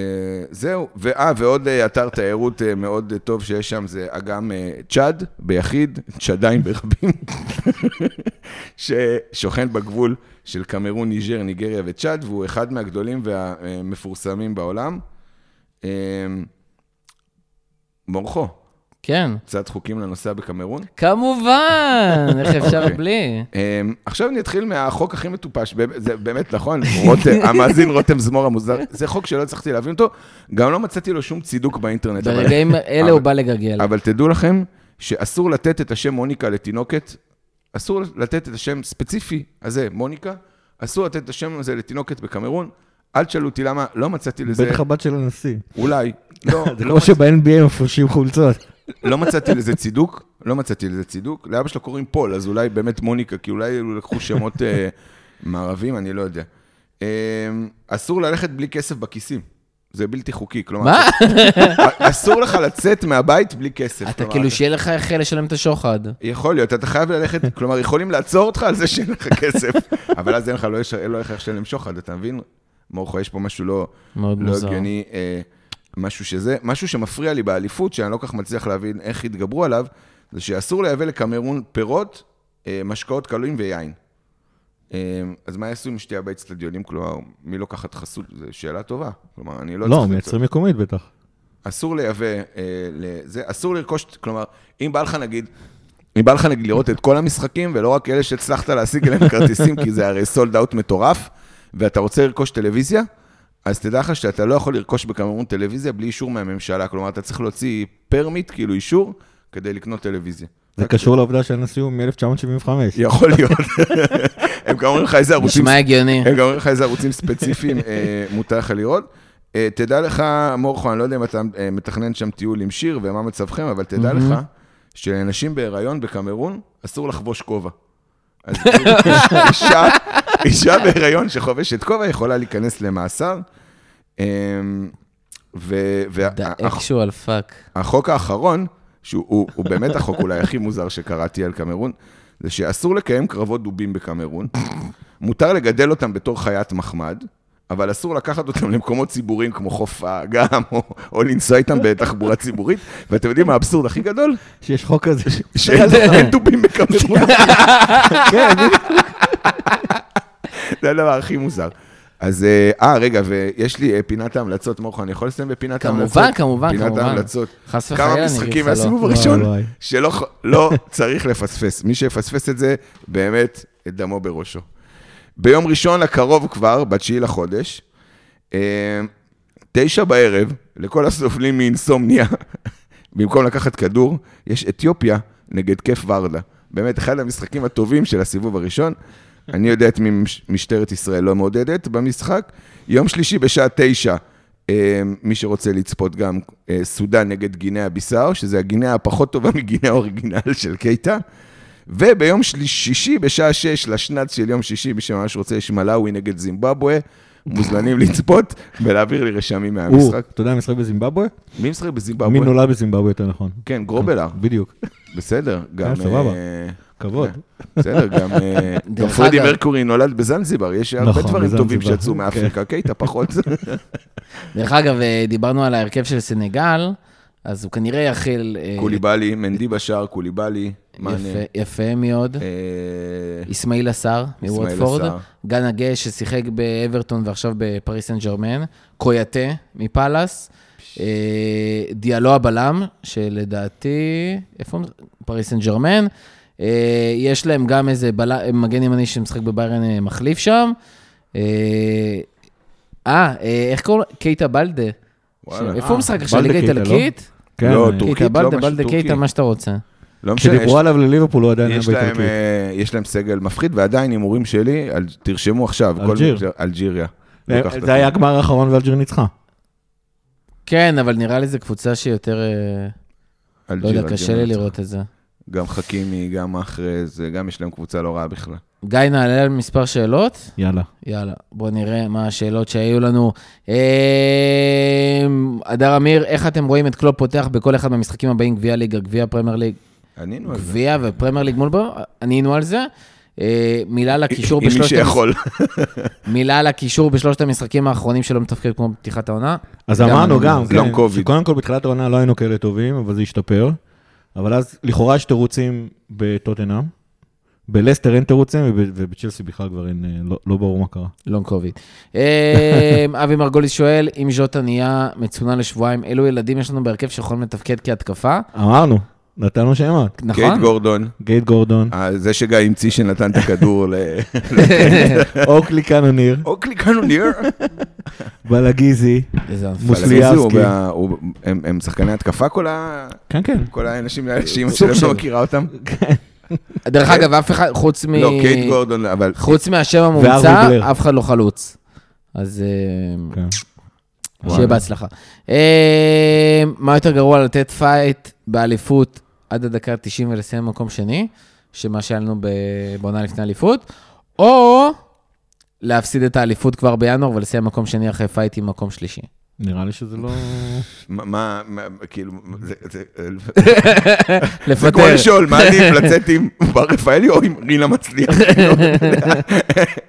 Speaker 3: זהו, ואה, ועוד אה, אתר תיירות אה, מאוד אה, טוב שיש שם, זה אגם אה, צ'אד ביחיד, צ'אדיים ברבים, ששוכן בגבול של קמרון, ניג'ר, ניגריה וצ'אד, והוא אחד מהגדולים והמפורסמים בעולם. אה, מורכו,
Speaker 1: כן.
Speaker 3: קצת חוקים לנוסע בקמרון.
Speaker 1: כמובן, איך אפשר
Speaker 3: אוקיי.
Speaker 1: בלי?
Speaker 3: אמ, עכשיו אני אתחיל מהחוק הכי מטופש, באמת- זה באמת נכון, רותם, המאזין רותם זמור המוזר, זה חוק שלא הצלחתי להבין אותו, גם לא מצאתי לו שום צידוק באינטרנט. אבל-
Speaker 1: ברגעים אלה הוא
Speaker 3: אבל-
Speaker 1: בא לגגל.
Speaker 3: אבל תדעו לכם שאסור לתת את השם מוניקה לתינוקת, אסור לתת את השם ספציפי הזה, מוניקה, אסור לתת את השם הזה לתינוקת בקמרון. אל תשאלו אותי למה, לא מצאתי לזה,
Speaker 2: בטח הבת של הנשיא.
Speaker 3: אולי, לא,
Speaker 2: זה
Speaker 3: לא
Speaker 2: כמו שב-NBA מפרשים חולצות.
Speaker 3: לא מצאתי לזה צידוק, לא מצאתי לזה צידוק. לאבא שלו קוראים פול, אז אולי באמת מוניקה, כי אולי לקחו שמות אה, מערבים, אני לא יודע. אה, אסור ללכת בלי כסף בכיסים. זה בלתי חוקי, כלומר... אה,
Speaker 1: מה?
Speaker 3: אסור לך לצאת מהבית בלי כסף.
Speaker 1: אתה
Speaker 3: כלומר,
Speaker 1: כאילו, שיהיה לך איך לשלם את השוחד.
Speaker 3: יכול להיות, אתה חייב ללכת, כלומר, יכולים לעצור אותך על זה שאין לך כסף, אבל אז אין לך, לא יש- אין לו איך לשלם שוחד, אתה מבין? מורכו, יש פה משהו לא...
Speaker 1: מאוד
Speaker 3: לא
Speaker 1: מוזר.
Speaker 3: הגיוני, אה, משהו שזה, משהו שמפריע לי באליפות, שאני לא כל כך מצליח להבין איך התגברו עליו, זה שאסור לייבא לקמרון פירות, אה, משקאות קלויים ויין. אה, אז מה יעשו אם שתהיה באצטדיונים? כלומר, מי לוקחת חסות? זו שאלה טובה. כלומר, אני לא...
Speaker 2: לא,
Speaker 3: צריך-
Speaker 2: מייצרים מקומית בטח.
Speaker 3: אסור לייבא, אה, לזה, אסור לרכוש, כלומר, אם בא לך נגיד, אם בא לך נגיד לראות את כל המשחקים, ולא רק אלה שהצלחת להשיג אליהם כרטיסים, כי זה הרי סולד אאוט מטורף, ואתה רוצה לרכוש טלוויזיה, אז תדע לך שאתה לא יכול לרכוש בקמרון טלוויזיה בלי אישור מהממשלה. כלומר, אתה צריך להוציא פרמיט, כאילו אישור, כדי לקנות טלוויזיה.
Speaker 2: זה קשור לעובדה שהנשיא הוא מ-1975.
Speaker 3: יכול להיות. הם גם אומרים לך איזה ערוצים
Speaker 1: נשמע לא, הגיוני.
Speaker 3: הם גם אומרים לך איזה ערוצים ספציפיים אה, מותר לך לראות. אה, תדע לך, מורכו, אני לא יודע אם אתה אה, מתכנן שם טיול עם שיר ומה מצבכם, אבל תדע לך שלנשים בהיריון בקמרון אסור לחבוש כובע. אז כאילו, אישה, אישה בהיריון שחובשת כובע יכולה להיכנס למאסר. אה, ו-
Speaker 1: The
Speaker 3: וה-
Speaker 1: actual fuck.
Speaker 3: החוק האחרון, שהוא הוא, הוא באמת החוק אולי הכי מוזר שקראתי על קמרון, זה שאסור לקיים קרבות דובים בקמרון. מותר לגדל אותם בתור חיית מחמד, אבל אסור לקחת אותם למקומות ציבוריים כמו חוף האגם, או, או לנסוע איתם בתחבורה ציבורית. ואתם יודעים מה האבסורד הכי גדול?
Speaker 2: שיש חוק כזה.
Speaker 3: שאין אין דובים בקמרון.
Speaker 2: כן,
Speaker 3: זה הדבר הכי מוזר. אז, אה, אה, רגע, ויש לי אה, פינת ההמלצות, מורכו, אני יכול לסיים בפינת
Speaker 1: כמובן,
Speaker 3: ההמלצות?
Speaker 1: כמובן,
Speaker 3: פינת
Speaker 1: כמובן.
Speaker 3: ההמלצות.
Speaker 1: חס וחלילה, אני
Speaker 3: כמה
Speaker 1: אגיד לך
Speaker 3: משחקים
Speaker 1: לא.
Speaker 3: מהסיבוב
Speaker 2: וואי,
Speaker 3: הראשון
Speaker 2: וואי.
Speaker 3: שלא ח- לא צריך לפספס. מי שיפספס את זה, באמת, את דמו בראשו. ביום ראשון הקרוב כבר, ב-9 לחודש, אה, תשע בערב, לכל הסובלים מאינסומניה, במקום לקחת כדור, יש אתיופיה נגד כיף ורדה. באמת, אחד המשחקים הטובים של הסיבוב הראשון. אני יודע את מי מש- משטרת ישראל לא מעודדת במשחק. יום שלישי בשעה תשע, אה, מי שרוצה לצפות גם, אה, סודאן נגד גינאה ביסאו, שזה הגינאה הפחות טובה מגינאה האוריגינל של קייטה. וביום של- שישי בשעה שש, לשנץ של יום שישי, מי שממש רוצה, יש מלאווי נגד זימבבואה. מוזמנים לצפות ולהעביר לי רשמים
Speaker 2: הוא,
Speaker 3: מהמשחק.
Speaker 2: אתה יודע, משחק בזימבבואה?
Speaker 3: מי משחק
Speaker 2: מי
Speaker 3: בזימבבואה?
Speaker 2: נולד בזימבבואה יותר נכון.
Speaker 3: כן, גרובלר,
Speaker 2: בדיוק.
Speaker 3: בסדר. גם...
Speaker 2: כן, סבבה.
Speaker 3: אה,
Speaker 2: כבוד.
Speaker 3: בסדר, גם, אה, גם
Speaker 1: דרך
Speaker 3: פרדי
Speaker 1: אגב. כן.
Speaker 3: מרקורי נולד בזנזיבר, יש הרבה
Speaker 2: נכון,
Speaker 3: דברים טובים
Speaker 2: בזנזיבר.
Speaker 3: שיצאו מאפריקה, קייטה פחות.
Speaker 1: דרך אגב, אה, דיברנו על ההרכב של סנגל, אז הוא כנראה יכיל... אה,
Speaker 3: קוליבאלי, מנדי בשאר, קוליבאלי, מאנה,
Speaker 1: יפה- יפה מאוד.
Speaker 3: אה,
Speaker 1: אסמאעיל עשר מוודפורד,
Speaker 3: עשר.
Speaker 1: גן הגה ששיחק באברטון ועכשיו בפריס סן ג'רמן, קויאטה מפאלאס, אה, דיאלו הבלם, שלדעתי, איפה הוא? פריס סן ג'רמן. אה, יש להם גם איזה בל... מגן ימני שמשחק בביירן אה, מחליף שם. אה, אה, אה, איך קוראים לו? קייטה בלדה.
Speaker 3: וואלה.
Speaker 1: ש- איפה הוא משחק עכשיו?
Speaker 2: בלדה
Speaker 1: ליגה
Speaker 2: קייטה, לא?
Speaker 1: איטלקית?
Speaker 2: כן,
Speaker 3: לא,
Speaker 2: אה,
Speaker 3: טורקית,
Speaker 1: קייטה בלדה,
Speaker 3: משהו
Speaker 1: בלדה
Speaker 3: טורקי.
Speaker 1: קייטה, מה שאתה רוצה.
Speaker 3: לא משנה, יש-
Speaker 2: כשדיברו עליו לליברפול הוא עדיין היה
Speaker 3: יש להם,
Speaker 2: באיטלקית.
Speaker 3: אה, יש להם סגל מפחיד, ועדיין הימורים שלי, אל- תרשמו עכשיו, כל-
Speaker 2: אלג'יר.
Speaker 3: אלג'יריה. לוקחת
Speaker 2: אה,
Speaker 3: את
Speaker 2: זה היה הגמר האחרון ואלג'יר ניצחה.
Speaker 1: כן, אבל נראה לי זו קבוצה שיותר... אה, לא
Speaker 3: אלג'יר,
Speaker 1: יודע,
Speaker 3: אלג'יר
Speaker 1: קשה לי
Speaker 3: נצחה.
Speaker 1: לראות את זה.
Speaker 3: גם חכימי, גם אחרז, גם יש להם קבוצה לא רעה בכלל.
Speaker 1: גיא, נעלה על מספר שאלות?
Speaker 2: יאללה.
Speaker 1: יאללה, בוא נראה מה השאלות שהיו לנו. אמ, הדר אמיר, איך אתם רואים את קלופ פותח בכל אחד מהמשחקים הבאים, גביע ליגה, גביע פרמייר ליג,
Speaker 2: לא
Speaker 3: ענינו על זה.
Speaker 1: גביע ופרמייר ליג מול בו? ענינו על זה. אה, מילה לקישור
Speaker 3: עם מי
Speaker 1: בשלושת המש-
Speaker 3: שיכול.
Speaker 1: מילה לקישור בשלושת המשחקים האחרונים שלא מתפקד כמו פתיחת העונה.
Speaker 2: אז
Speaker 1: גם
Speaker 2: אמרנו
Speaker 1: אני-
Speaker 2: גם,
Speaker 3: זה long
Speaker 2: כן,
Speaker 3: covid.
Speaker 2: שקודם כל בתחילת העונה לא היינו כאלה טובים, אבל זה השתפר. אבל אז לכאורה יש תירוצים בטוטנאם, בלסטר אין תירוצים וב- ובצ'לסי בכלל כבר אין, אה, לא- לא ברור מה קרה.
Speaker 1: לונג קוביד. אמ, אבי מרגוליס שואל, אם ז'וטה נהיה מצונן לשבועיים, אילו ילדים יש לנו בהרכב שיכולים לתפקד כהתקפה?
Speaker 2: אמרנו, נתנו שמות.
Speaker 3: קייט
Speaker 1: נכון?
Speaker 3: גורדון,
Speaker 2: גייט גורדון,
Speaker 3: אה, זה שגיא המציא שנתן את הכדור ל...
Speaker 2: אוקלי קאנוניר,
Speaker 3: אוקלי קאנוניר.
Speaker 2: בלגיזי,
Speaker 1: איזה ענפה.
Speaker 3: פלגיזי הוא
Speaker 2: מוסליאבסקי.
Speaker 3: ב- הוא- הם הם שחקני התקפה כל ה-
Speaker 2: כן, כן.
Speaker 3: כל האנשים האלה שאימא
Speaker 2: סוג
Speaker 3: שלהם
Speaker 2: של.
Speaker 3: לא מכירה אותם?
Speaker 1: דרך אגב, אף אחד, חוץ מ...
Speaker 3: לא, קייט גורדון, אבל
Speaker 1: חוץ מהשם
Speaker 2: וארווי
Speaker 1: המומצא,
Speaker 2: בלר.
Speaker 1: אף אחד לא חלוץ. אז אה,
Speaker 2: כן.
Speaker 1: שיהיה בהצלחה. אה, מה יותר גרוע לתת פייט באליפות עד הדקה ה-90 ולסיים במקום שני, שמה שהיה לנו ב- בעונה לפני האליפות, או להפסיד את האליפות כבר בינואר ולסיים במקום שני אחרי פייט עם מקום שלישי.
Speaker 2: נראה לי שזה לא...
Speaker 3: מה- מה, מה- כאילו, זה- זה- זה כמו
Speaker 1: לפטר.
Speaker 3: לשאול, מה עדיף לצאת עם בר רפאלי או עם רינה מצליח? כאילו,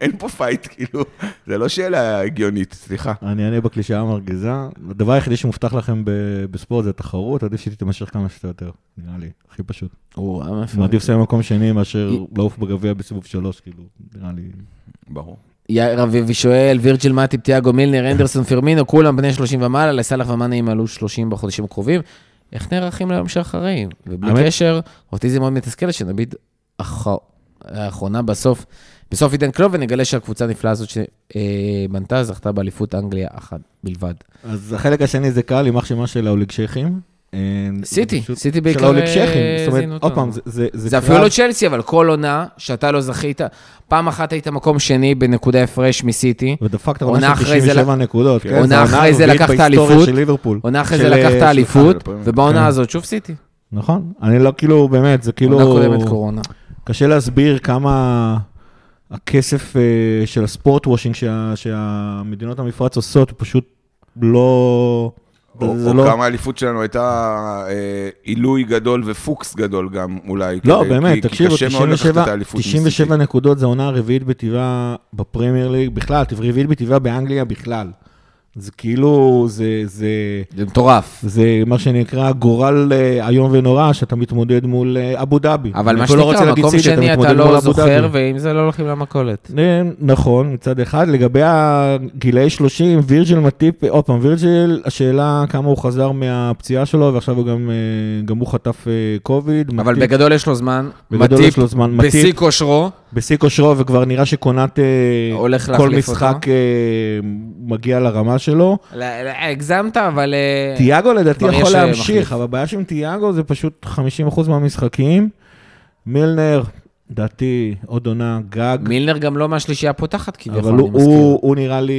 Speaker 3: אין פה פייט, כאילו, זה לא שאלה הגיונית, סליחה.
Speaker 2: אני אענה בקלישאה המרגיזה. הדבר היחידי שמובטח לכם ב- בספורט זה תחרות, עדיף שהיא תימשך כמה שאתה יותר, נראה לי, הכי פשוט.
Speaker 1: או, אה, מאיפה?
Speaker 2: מעדיף לסיים במקום שני מאשר לעוף בגביע בסיבוב שלוש, כאילו, נראה לי.
Speaker 3: ברור.
Speaker 1: יאיר אביבי שואל, וירג'יל מאטיב, תיאגו מילנר, אנדרסון פרמינו, כולם בני 30 ומעלה, לסאלח ומאנה ימלאו 30 בחודשים הקרובים. איך נערכים ליום שאחרי? ובלי
Speaker 2: האמת-
Speaker 1: קשר, אותי זה מאוד מתסכל שנביט אח- האחרונה בסוף, בסוף עידן קלוב, ונגלה שהקבוצה הנפלאה הזאת שבנתה זכתה באליפות אנגליה אחת בלבד.
Speaker 2: אז החלק השני זה קל, יימח שמה של האוליג שייחים. אה, זה
Speaker 1: סיטי,
Speaker 2: פשוט-
Speaker 1: סיטי בעיקר,
Speaker 2: של האוליג
Speaker 1: אה,
Speaker 2: שייחים, זאת
Speaker 1: זינו
Speaker 2: אומרת,
Speaker 1: אותנו.
Speaker 2: עוד פעם, זה- זה
Speaker 1: זה
Speaker 2: קרב-
Speaker 1: אפילו לא צ'לסי, אבל כל עונה שאתה לא זכית, פעם אחת היית מקום שני בנקודה הפרש מסיטי,
Speaker 2: ודפקת
Speaker 1: עונה
Speaker 2: עונה של
Speaker 1: אחרי זה
Speaker 2: 97 נקודות, כן?
Speaker 1: עונה
Speaker 2: זו
Speaker 1: אחרי זה
Speaker 2: הרביעית
Speaker 1: לקחת
Speaker 2: בהיסטוריה
Speaker 1: אליפות.
Speaker 2: של ליברפול.
Speaker 1: עונה אחרי
Speaker 2: של-
Speaker 1: זה לקחת
Speaker 2: סליחה,
Speaker 1: אליפות,
Speaker 3: של הפרמייר.
Speaker 1: ובעונה
Speaker 2: כן.
Speaker 1: הזאת שוב סיטי.
Speaker 2: נכון. אני לא, כאילו, באמת, זה כאילו...
Speaker 1: עונה קודמת קורונה.
Speaker 2: קשה להסביר כמה הכסף אה, של הספורט וושינג שה, שהמדינות המפרץ עושות, הוא פשוט לא...
Speaker 3: או
Speaker 2: זה
Speaker 3: או
Speaker 2: לא...
Speaker 3: כמה האליפות שלנו הייתה אה, עילוי גדול ופוקס גדול גם, אולי.
Speaker 2: לא,
Speaker 3: כדי-
Speaker 2: באמת,
Speaker 3: כי- כי
Speaker 2: תקשיבו,
Speaker 3: קשה מאוד לקחת
Speaker 2: 97,
Speaker 3: את האליפות
Speaker 2: 97 נקודות זה העונה הרביעית בטבעה בפרמייר ליג, בכלל, רביעית בטבעה באנגליה בכלל. זה כאילו, זה, זה,
Speaker 1: זה מטורף.
Speaker 2: זה מה שנקרא גורל אה, איום ונורא, שאתה מתמודד מול אה, אבו דאבי.
Speaker 1: אבל
Speaker 2: אני
Speaker 1: מה
Speaker 2: אפילו לא רוצה
Speaker 1: שנקרא,
Speaker 2: להגיד
Speaker 1: מקום
Speaker 2: סיטי,
Speaker 1: שני אתה
Speaker 2: מתמודד מול
Speaker 1: לא
Speaker 2: אבו דאבי.
Speaker 1: זוכר, ועם זה לא הולכים למכולת.
Speaker 2: אה, נכון, מצד אחד. לגבי הגילאי 30, וירג'יל מטיפ, עוד פעם, וירג'יל, השאלה כמה הוא חזר מהפציעה שלו, ועכשיו הוא גם, אה, גם הוא חטף אה, קוביד.
Speaker 1: אבל
Speaker 2: מטיפ,
Speaker 1: בגדול יש לו זמן,
Speaker 2: בגדול
Speaker 1: מטיפ,
Speaker 2: יש לו זמן,
Speaker 1: בשיא
Speaker 2: מטיפ,
Speaker 1: כושרו,
Speaker 2: בשיא כושרו, וכבר נראה שקונת אה,
Speaker 1: הולך
Speaker 2: כל
Speaker 1: להחליף
Speaker 2: משחק
Speaker 1: אותו.
Speaker 2: אה, מגיע לרמה שלו.
Speaker 1: לא, לא, הגזמת, אבל... אה,
Speaker 2: תיאגו לדעתי
Speaker 1: כבר יש,
Speaker 2: יכול
Speaker 1: אה,
Speaker 2: להמשיך,
Speaker 1: מחליף.
Speaker 2: אבל הבעיה שעם תיאגו זה פשוט 50% מהמשחקים. מילנר, לדעתי, עוד עונה גג.
Speaker 1: מילנר גם לא מהשלישייה הפותחת, כביכול,
Speaker 2: אבל
Speaker 1: אני
Speaker 2: הוא,
Speaker 1: מזכיר.
Speaker 2: הוא, הוא נראה לי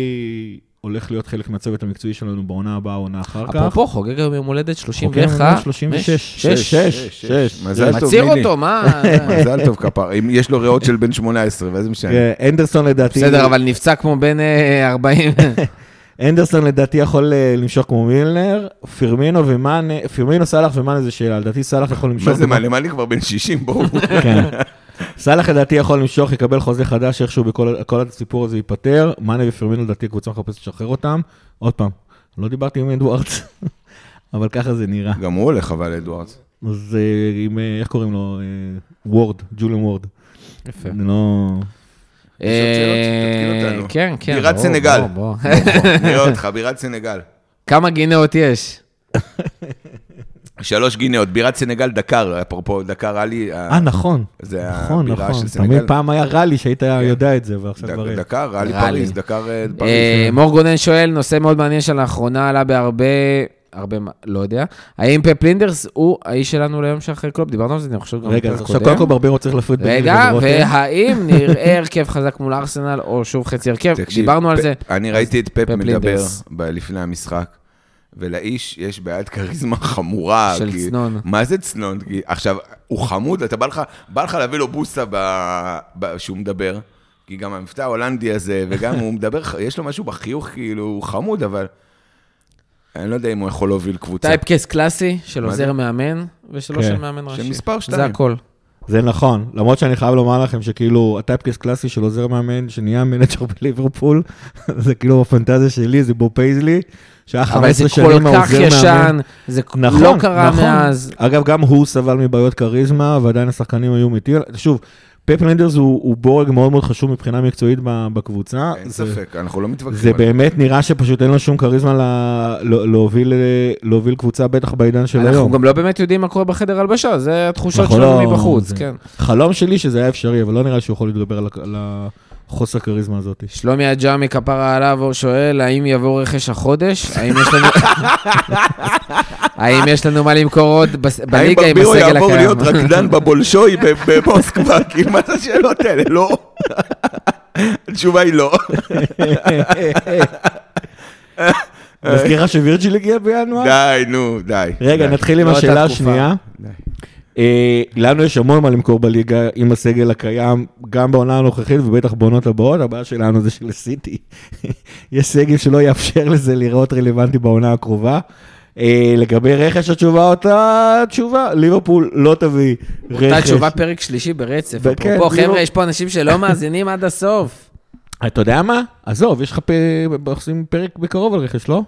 Speaker 2: הולך להיות חלק מהצוות המקצועי שלנו בעונה הבאה, עונה אחר כך.
Speaker 1: אפרופו, חוגג היום יום הולדת
Speaker 2: חוגג יום
Speaker 1: 31.
Speaker 2: הולדת 36.
Speaker 1: שש.
Speaker 2: שש, שש.
Speaker 3: מזל טוב,
Speaker 1: מצהיר
Speaker 3: מיני.
Speaker 1: אותו, מה?
Speaker 3: מזל טוב כפר, אם יש לו ריאות של בן 18, ואז משנה.
Speaker 2: כן, אנדרסון לדעתי,
Speaker 1: בסדר, אבל נפצע כמו בן אה, 40.
Speaker 2: אנדרסון לדעתי יכול אה, למשוך כמו מילנר, פירמינו ומאנה, פירמינו סאלח ומאנה זה שאלה, לדעתי סאלח יכול למשוך.
Speaker 3: מה זה
Speaker 2: כמו-
Speaker 3: מעלה? מה לי כבר בן 60, בואו.
Speaker 2: כן. סאלח לדעתי יכול למשוך, יקבל חוזה חדש, איכשהו בכל כל הסיפור הזה ייפתר. מאנה ופרמינו לדעתי הקבוצה מחפשת לשחרר אותם. עוד פעם, לא דיברתי עם אדוארדס, אבל ככה זה נראה.
Speaker 3: גם הוא הולך, אבל, אדוארדס.
Speaker 2: אז אה, עם, אה, איך קוראים לו? אה, וורד, ג'וליאן וורד.
Speaker 1: יפה.
Speaker 2: אני לא...
Speaker 3: שאלות, תתקיל אותנו.
Speaker 1: אה, כן, כן.
Speaker 3: בירת
Speaker 1: ברור,
Speaker 3: סנגל.
Speaker 1: ברור, ברור.
Speaker 3: נראה אותך, בירת סנגל.
Speaker 1: כמה גינאות יש?
Speaker 3: שלוש גינאות, בירת סנגל דקר, אפרופו דקר עלי,
Speaker 2: אה, נכון.
Speaker 3: זה
Speaker 2: נכון,
Speaker 3: הבירה
Speaker 2: נכון.
Speaker 3: של סנגל. כן.
Speaker 2: תמיד פעם היה רע לי שהיית יודע את זה, ועכשיו כבר... אין.
Speaker 3: דקר, עלי
Speaker 1: רלי.
Speaker 3: פריז, דקר אה,
Speaker 1: אה,
Speaker 3: פריז.
Speaker 1: מור גונן שואל, נושא מאוד מעניין שלאחרונה עלה בהרבה, הרבה, מה- לא יודע. האם פפ לינדרס הוא האיש שלנו ליום שאחרי קלופ? דיברנו על זה, אני חושב גם
Speaker 2: רגע, אז
Speaker 1: בפרק
Speaker 2: עכשיו
Speaker 1: הקודם.
Speaker 2: קודם כל ברבירו צריך להפריד בין
Speaker 1: רגע,
Speaker 2: זה לרותם.
Speaker 1: והאם נראה הרכב חזק מול ארסנל, או שוב חצי הרכב?
Speaker 3: תקשיב,
Speaker 1: דיברנו על
Speaker 3: פ-
Speaker 1: זה.
Speaker 3: אני ראיתי את פפ
Speaker 1: פפ
Speaker 3: מדבר
Speaker 1: לינדרס.
Speaker 3: ב- לפני המשחק, ולאיש יש בעיית כריזמה
Speaker 2: אה,
Speaker 3: חמורה.
Speaker 1: של
Speaker 3: כי-
Speaker 1: צנון.
Speaker 3: מה זה צנון? כי- עכשיו, הוא חמוד, אתה בא לך, בא לך להביא לו בוסה ב- ב- שהוא מדבר, כי גם המבטא ההולנדי הזה, וגם הוא מדבר, יש לו משהו בחיוך, כאילו, הוא חמוד, אבל... אני לא יודע אם הוא יכול להוביל קבוצה.
Speaker 1: טייפקס קלאסי של
Speaker 3: מה זה?
Speaker 1: עוזר מאמן, ושלא
Speaker 2: כן.
Speaker 1: של מאמן ראשי.
Speaker 3: מספר
Speaker 1: זה
Speaker 3: שתיים.
Speaker 1: הכל.
Speaker 2: זה נכון, למרות שאני חייב לומר לכם שכאילו, הטייפקס קלאסי של עוזר מאמן, שנהיה מנג'ר בליברפול, זה כאילו בפנטזיה שלי, זה בוב פייזלי, שהיה
Speaker 1: אבל זה
Speaker 2: 15
Speaker 1: כל כך
Speaker 2: שנים העוזר מאמן.
Speaker 1: ישן, זה
Speaker 2: נכון,
Speaker 1: לא קרה
Speaker 2: נכון.
Speaker 1: מאז.
Speaker 2: אגב, גם הוא סבל מבעיות כריזמה, ועדיין השחקנים היו מתים. שוב, פפ לנדרס הוא, הוא בורג מאוד מאוד חשוב מבחינה מקצועית ב- בקבוצה.
Speaker 3: אין
Speaker 2: זה-
Speaker 3: ספק, אנחנו לא מתווכחים.
Speaker 2: זה
Speaker 3: על
Speaker 2: באמת נראה שפשוט אין לו שום כריזמה ל- ל- להוביל, להוביל קבוצה, בטח בעידן של
Speaker 1: אנחנו
Speaker 2: היום.
Speaker 1: גם לא באמת יודעים מה קורה בחדר הלבשה, זה התחושות
Speaker 2: אנחנו לא-
Speaker 1: שלנו מבחוץ,
Speaker 2: זה-
Speaker 1: כן.
Speaker 2: חלום שלי שזה היה אפשרי, אבל לא נראה לי שהוא יכול להתגבר על הכ- על החוסר כריזמה הזאת.
Speaker 1: שלומי הג'אמי כפרה עליו, הוא שואל, האם יבוא רכש החודש? האם יש לנו... האם יש לנו מה למכור עוד בס- בליגה עם
Speaker 3: האם ברבירו
Speaker 1: הסגל
Speaker 3: יעבור להיות
Speaker 1: הקיים?
Speaker 3: רקדן בבולשוי ב- במוסקבה? כאילו, מה זה השאלות האלה? לא. התשובה היא לא.
Speaker 2: מזכיר לך שווירג'יל הגיע בינואר?
Speaker 3: די, נו, די.
Speaker 2: רגע,
Speaker 3: די.
Speaker 2: נתחיל עם
Speaker 1: לא אותה
Speaker 2: השאלה
Speaker 1: תקופה.
Speaker 2: השנייה.
Speaker 3: די.
Speaker 2: אה, אה, לנו יש המון מה למכור בליגה עם הסגל הקיים, גם בעונה הנוכחית ובטח בעונות הבאות, הבעיה שלנו זה שלסיטי. יש סגל שלא יאפשר לזה להיראות רלוונטי בעונה הקרובה. אה, לגבי רכש התשובה אותה תשובה, ליברפול לא תביא רכש.
Speaker 1: אותה תשובה פרק שלישי ברצף.
Speaker 2: וכן,
Speaker 1: אפרופו,
Speaker 2: כאילו-
Speaker 1: חבר'ה, יש פה אנשים שלא מאזינים עד הסוף.
Speaker 2: אתה יודע מה? עזוב, יש לך פ... עושים פרק בקרוב על רכש, לא?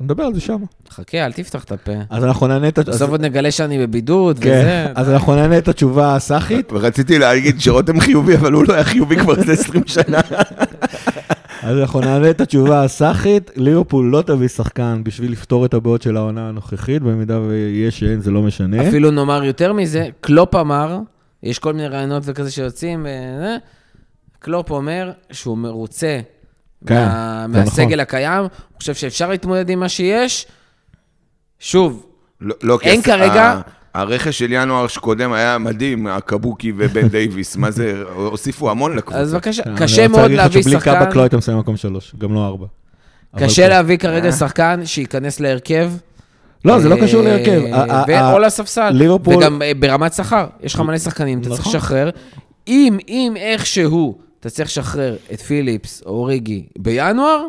Speaker 2: נדבר על זה שם.
Speaker 1: חכה, אל תפתח את הפה.
Speaker 2: אז אנחנו נענה את...
Speaker 1: בסוף עוד נגלה שאני בבידוד וזה.
Speaker 2: כן, אז אנחנו נענה את התשובה הסאחית.
Speaker 3: רציתי להגיד שרותם חיובי, אבל הוא לא היה חיובי כבר איזה 20 שנה.
Speaker 2: אז אנחנו נענה את התשובה הסאחית. ליברפול לא תביא שחקן בשביל לפתור את הבעיות של העונה הנוכחית, במידה ויש שאין, זה לא משנה.
Speaker 1: אפילו נאמר יותר מזה, קלופ אמר, יש כל מיני רעיונות וכזה שיוצאים, וזה, קלופ אומר שהוא מרוצה
Speaker 2: כן,
Speaker 1: מה,
Speaker 2: זה
Speaker 1: מהסגל
Speaker 2: נכון.
Speaker 1: הקיים, הוא חושב שאפשר להתמודד עם מה שיש. שוב,
Speaker 3: לא, לא, כי
Speaker 1: אין
Speaker 3: הס-
Speaker 1: כרגע-
Speaker 3: ה- הרכש של ינואר שקודם היה מדהים, הקבוקי ובן דייוויס, מה זה, הוסיפו המון לקבוצה.
Speaker 1: אז בבקשה,
Speaker 2: כן,
Speaker 1: קשה מאוד להביא
Speaker 2: אני רוצה להגיד לך שבלי
Speaker 1: שחקן,
Speaker 2: קאבק לא הייתם שמים מקום שלוש, גם לא ארבע. אבל
Speaker 1: קשה
Speaker 2: כן.
Speaker 1: להביא כרגע שחקן שייכנס להרכב.
Speaker 2: לא, זה לא
Speaker 1: אה,
Speaker 2: קשור להרכב. ה- ה- ה-
Speaker 1: ו- או לספסל.
Speaker 2: ליברפול-
Speaker 1: וגם אה, ברמת שכר, יש לך מלא שחקנים, אתה צריך
Speaker 2: נכון.
Speaker 1: לשחרר. אם, אם איכשהו אתה צריך לשחרר את פיליפס או ריגי בינואר,